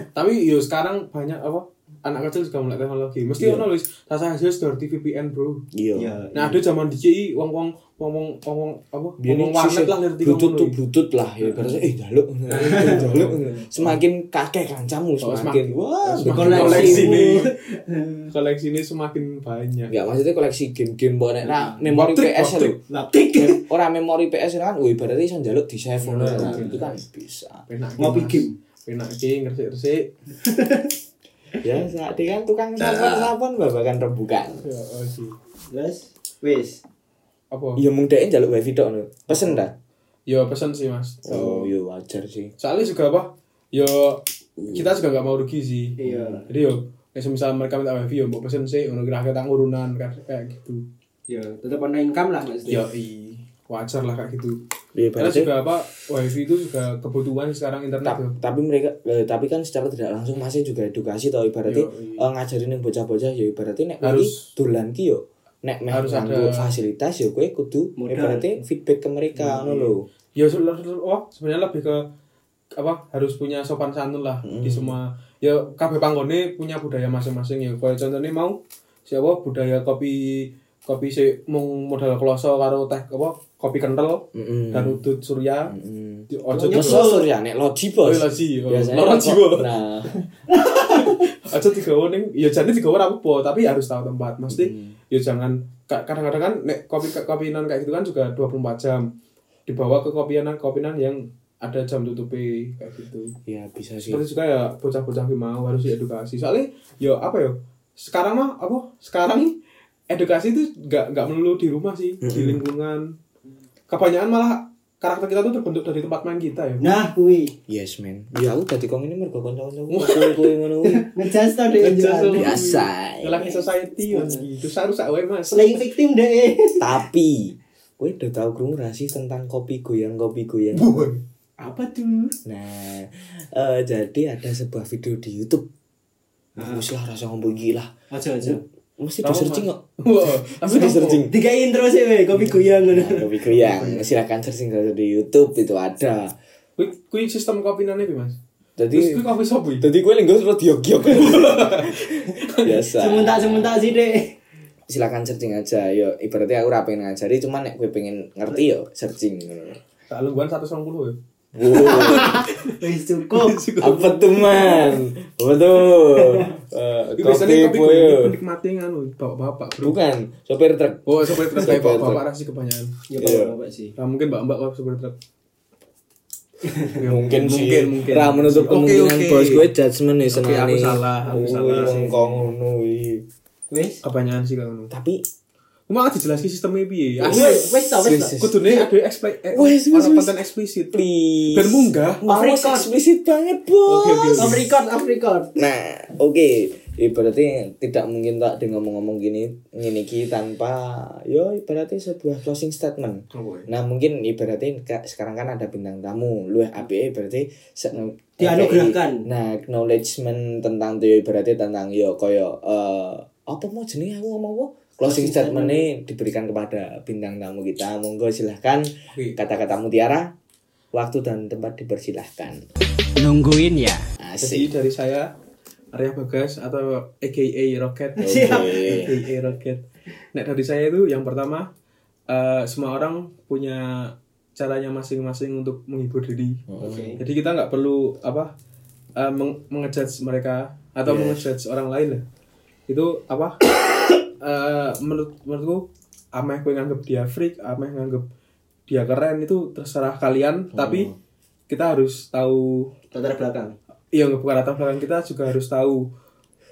[SPEAKER 3] Tapi yo sekarang banyak apa? Anak kecil juga melek teknologi. Mesti
[SPEAKER 1] Iya.
[SPEAKER 3] ono lho, rasa hasil dari VPN, Bro.
[SPEAKER 2] Ya.
[SPEAKER 1] Iya.
[SPEAKER 3] Nah, ada zaman DJI wong-wong ngomong ngomong apa?
[SPEAKER 1] Biar
[SPEAKER 3] Ngomong warnet lah ngerti
[SPEAKER 1] butut tuh
[SPEAKER 3] ngono.
[SPEAKER 1] butut lah ya berarti eh jaluk jaluk semakin kakek kancamu
[SPEAKER 3] Oh,
[SPEAKER 1] semakin
[SPEAKER 3] semakin-
[SPEAKER 1] wah
[SPEAKER 3] semakin
[SPEAKER 2] Nah,
[SPEAKER 1] berkoleksi.
[SPEAKER 3] koleksi nih. Koleksi ini semakin banyak.
[SPEAKER 1] Enggak maksudnya koleksi game-game bonek nah memori PS
[SPEAKER 3] Baptik, baptik.
[SPEAKER 1] lho.
[SPEAKER 2] Laptik.
[SPEAKER 1] Ora memori PS kan wih berarti iso njaluk di save ngono
[SPEAKER 3] Iya,
[SPEAKER 1] Nah,
[SPEAKER 3] iya.
[SPEAKER 1] itu kan bisa.
[SPEAKER 3] Penak
[SPEAKER 2] Ngopi game.
[SPEAKER 3] Penak ki ngersik-resik.
[SPEAKER 1] Ya saat kan tukang sapon-sapon babakan rebukan.
[SPEAKER 3] Ya oh, sih.
[SPEAKER 2] Terus wis.
[SPEAKER 3] Apa?
[SPEAKER 1] Iya mung dhek e njaluk wifi tok ngono. Pesen dah.
[SPEAKER 3] Ya pesan sih, Mas.
[SPEAKER 1] Oh, iya wajar sih.
[SPEAKER 3] Soalnya juga apa? Yo kita juga nggak mau rugi sih.
[SPEAKER 2] Iya.
[SPEAKER 3] Jadi yo, ya semisal mereka minta wifi yo mau pesen sih, ngono kira kita urunan kan kayak gitu.
[SPEAKER 2] Ya, tetep ana income lah Mas.
[SPEAKER 3] Yo i wajar lah kayak gitu.
[SPEAKER 1] Iya
[SPEAKER 3] Karena
[SPEAKER 1] berarti-
[SPEAKER 3] juga apa wifi itu juga kebutuhan sekarang internet
[SPEAKER 1] Ta-
[SPEAKER 3] yo.
[SPEAKER 1] tapi mereka eh, tapi kan secara tidak langsung masih juga edukasi tau ibaratnya
[SPEAKER 3] Yo, iya.
[SPEAKER 1] eh, ngajarin yang bocah-bocah ya ibaratnya nek
[SPEAKER 3] Harus-
[SPEAKER 1] harus dolan ki yo nek meh
[SPEAKER 3] Harus
[SPEAKER 1] nganggo
[SPEAKER 3] ada-
[SPEAKER 1] fasilitas yo kowe kudu
[SPEAKER 2] Modal.
[SPEAKER 1] ibaratnya feedback ke mereka ngono lho.
[SPEAKER 3] Ya se- se- se- oh, sebenarnya lebih ke apa harus punya sopan santun lah
[SPEAKER 1] Hmm.
[SPEAKER 3] di semua ya kabeh panggone punya budaya masing-masing ya kalau contohnya mau siapa budaya kopi kopi si mung modal kloso karo teh apa kopi kental
[SPEAKER 1] Mm-mm.
[SPEAKER 3] dan udut surya
[SPEAKER 1] Mm.
[SPEAKER 3] di ojo
[SPEAKER 1] Ojo kesel ya nek loji bos.
[SPEAKER 3] Oh, loji, oh.
[SPEAKER 1] Biasanya
[SPEAKER 3] Loro
[SPEAKER 1] kan kok-
[SPEAKER 3] jiwa.
[SPEAKER 1] Nah,
[SPEAKER 3] aja tiga ning ya jane tiga ora apa tapi harus tahu tempat mesti ya jangan ka- kadang-kadang kan nek kopi kopinan kayak gitu kan juga 24 jam dibawa ke kopianan kopinan yang ada jam tutupi kayak gitu
[SPEAKER 1] ya bisa sih.
[SPEAKER 3] seperti juga ya bocah-bocah ki mau harus diedukasi soalnya ya apa ya sekarang mah apa sekarang nih edukasi itu nggak nggak melulu di rumah sih di lingkungan kebanyakan malah karakter kita tuh terbentuk dari tempat main kita ya
[SPEAKER 2] Nah, kuwi.
[SPEAKER 1] Yes man. Ya aku dadi kong ini mergo kanca-kancaku. Kowe-kowe ngono kuwi.
[SPEAKER 2] Ngejas to deh.
[SPEAKER 3] Ngejas
[SPEAKER 2] jalan.
[SPEAKER 3] to.
[SPEAKER 1] Biasa.
[SPEAKER 3] Ngelaki society ya gitu harus awe mas
[SPEAKER 2] Selain victim deh.
[SPEAKER 1] Tapi kowe udah tau krungu ra sih tentang kopi goyang kopi goyang.
[SPEAKER 2] Apa tuh?
[SPEAKER 1] Nah, eh, jadi ada sebuah video di YouTube.
[SPEAKER 3] Ah.
[SPEAKER 1] Bagus lah rasa ngomong gila.
[SPEAKER 2] Aja aja.
[SPEAKER 1] Mesti di searching kok.
[SPEAKER 3] Wah,
[SPEAKER 1] Mesti di searching.
[SPEAKER 2] Tiga intro sih, weh. kopi goyang
[SPEAKER 1] Nah,
[SPEAKER 2] ngono.
[SPEAKER 1] kopi goyang. Silakan searching kalau di YouTube itu ada.
[SPEAKER 3] Kuwi kuwi sistem kopinane piye, Mas? Terus
[SPEAKER 1] Jadi
[SPEAKER 3] kuwi kopi sopo iki?
[SPEAKER 1] jadi gue lenggos lo diok-diok. Biasa.
[SPEAKER 2] Semuntak-semuntak sih deh.
[SPEAKER 1] Silakan searching aja. Yo, ibaratnya aku ra pengen ngajari, cuman nek gue pengen ngerti yo searching.
[SPEAKER 3] Tak lungguhan 120 ya.
[SPEAKER 1] Wow,
[SPEAKER 2] Wis cukup.
[SPEAKER 1] apa tuh man? Apa tuh? Eh,
[SPEAKER 3] Iki biasanya
[SPEAKER 1] kopi ya.
[SPEAKER 3] kopi kuwi
[SPEAKER 1] boyo.
[SPEAKER 3] penikmati nganu bapak-bapak, Bro.
[SPEAKER 1] Bukan, sopir truk.
[SPEAKER 3] Oh, sopir truk
[SPEAKER 1] Sopir
[SPEAKER 3] kayak
[SPEAKER 1] truk.
[SPEAKER 3] bapak-bapak rasi kebanyakan.
[SPEAKER 2] Ya
[SPEAKER 1] Iya.
[SPEAKER 2] apa sih.
[SPEAKER 3] Nah, mungkin Mbak-mbak kalau sopir truk. Ya,
[SPEAKER 1] mungkin sih
[SPEAKER 3] mungkin mungkin.
[SPEAKER 1] ra menutup
[SPEAKER 3] Oke,
[SPEAKER 1] kemungkinan
[SPEAKER 3] oke.
[SPEAKER 1] bos gue ya, judgement nih senang
[SPEAKER 3] aku salah, aku salah.
[SPEAKER 1] ngono iki
[SPEAKER 2] Wis.
[SPEAKER 3] Kebanyakan sih kalau ngono.
[SPEAKER 1] tapi
[SPEAKER 3] Cuma dijelasin sistemnya piye.
[SPEAKER 2] Wis,
[SPEAKER 3] Asli.
[SPEAKER 2] wis to, wis to.
[SPEAKER 3] Kudune ada expli- eh,
[SPEAKER 1] Wis, wis, wis.
[SPEAKER 3] ono konten eksplisit.
[SPEAKER 1] please
[SPEAKER 3] Ben munggah.
[SPEAKER 1] Awas,
[SPEAKER 2] Afrikan.
[SPEAKER 1] eksplisit banget bos
[SPEAKER 3] Oke, oke,
[SPEAKER 2] Off record, off record.
[SPEAKER 1] nah oke ibaratnya tidak mungkin tak dengan ngomong-ngomong gini ngini ki tanpa yo ibaratnya sebuah closing statement Nah mungkin ibaratnya ka- sekarang kan ada bintang tamu Lu APE berarti se- eh,
[SPEAKER 2] Dianugerahkan.
[SPEAKER 1] Nah acknowledgement tentang tuh Ibaratnya tentang yo koyo eh, Apa mau jenis aku ngomong apa Closing
[SPEAKER 2] Closing
[SPEAKER 1] statement diberikan kepada bintang tamu kita Monggo silahkan
[SPEAKER 3] Oke.
[SPEAKER 1] kata-kata mutiara waktu dan tempat dipersilahkan
[SPEAKER 4] Nungguin ya.
[SPEAKER 3] Jadi
[SPEAKER 1] asik
[SPEAKER 3] dari saya Arya Bagas atau AKA Rocket.
[SPEAKER 2] Siap.
[SPEAKER 3] AKA Rocket. Nah dari saya itu yang pertama eh, semua orang punya caranya masing-masing untuk menghibur diri.
[SPEAKER 1] Oh.
[SPEAKER 2] Oke.
[SPEAKER 3] Jadi kita nggak perlu apa eh, meng- mengejudge mereka atau
[SPEAKER 1] Yes.
[SPEAKER 3] mengejudge orang lain lah. Itu apa? eh, menurut menurutku ameh kowe nganggep dia freak, ameh nganggep dia keren itu terserah kalian,
[SPEAKER 1] Oh.
[SPEAKER 3] tapi kita harus tahu
[SPEAKER 2] latar belakang
[SPEAKER 3] Iya nggak bukan latar belakang kita juga harus tahu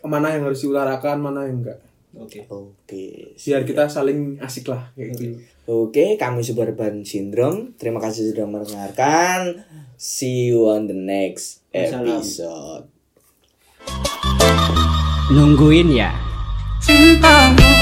[SPEAKER 3] mana yang harus diutarakan mana yang enggak
[SPEAKER 2] oke
[SPEAKER 1] oke
[SPEAKER 3] biar kita saling asik lah kayak gitu
[SPEAKER 1] Oke, kami Suburban Syndrome. Terima kasih sudah mendengarkan. See you on the next
[SPEAKER 2] Wassalam.
[SPEAKER 1] episode.
[SPEAKER 4] Nungguin ya.
[SPEAKER 5] cintamu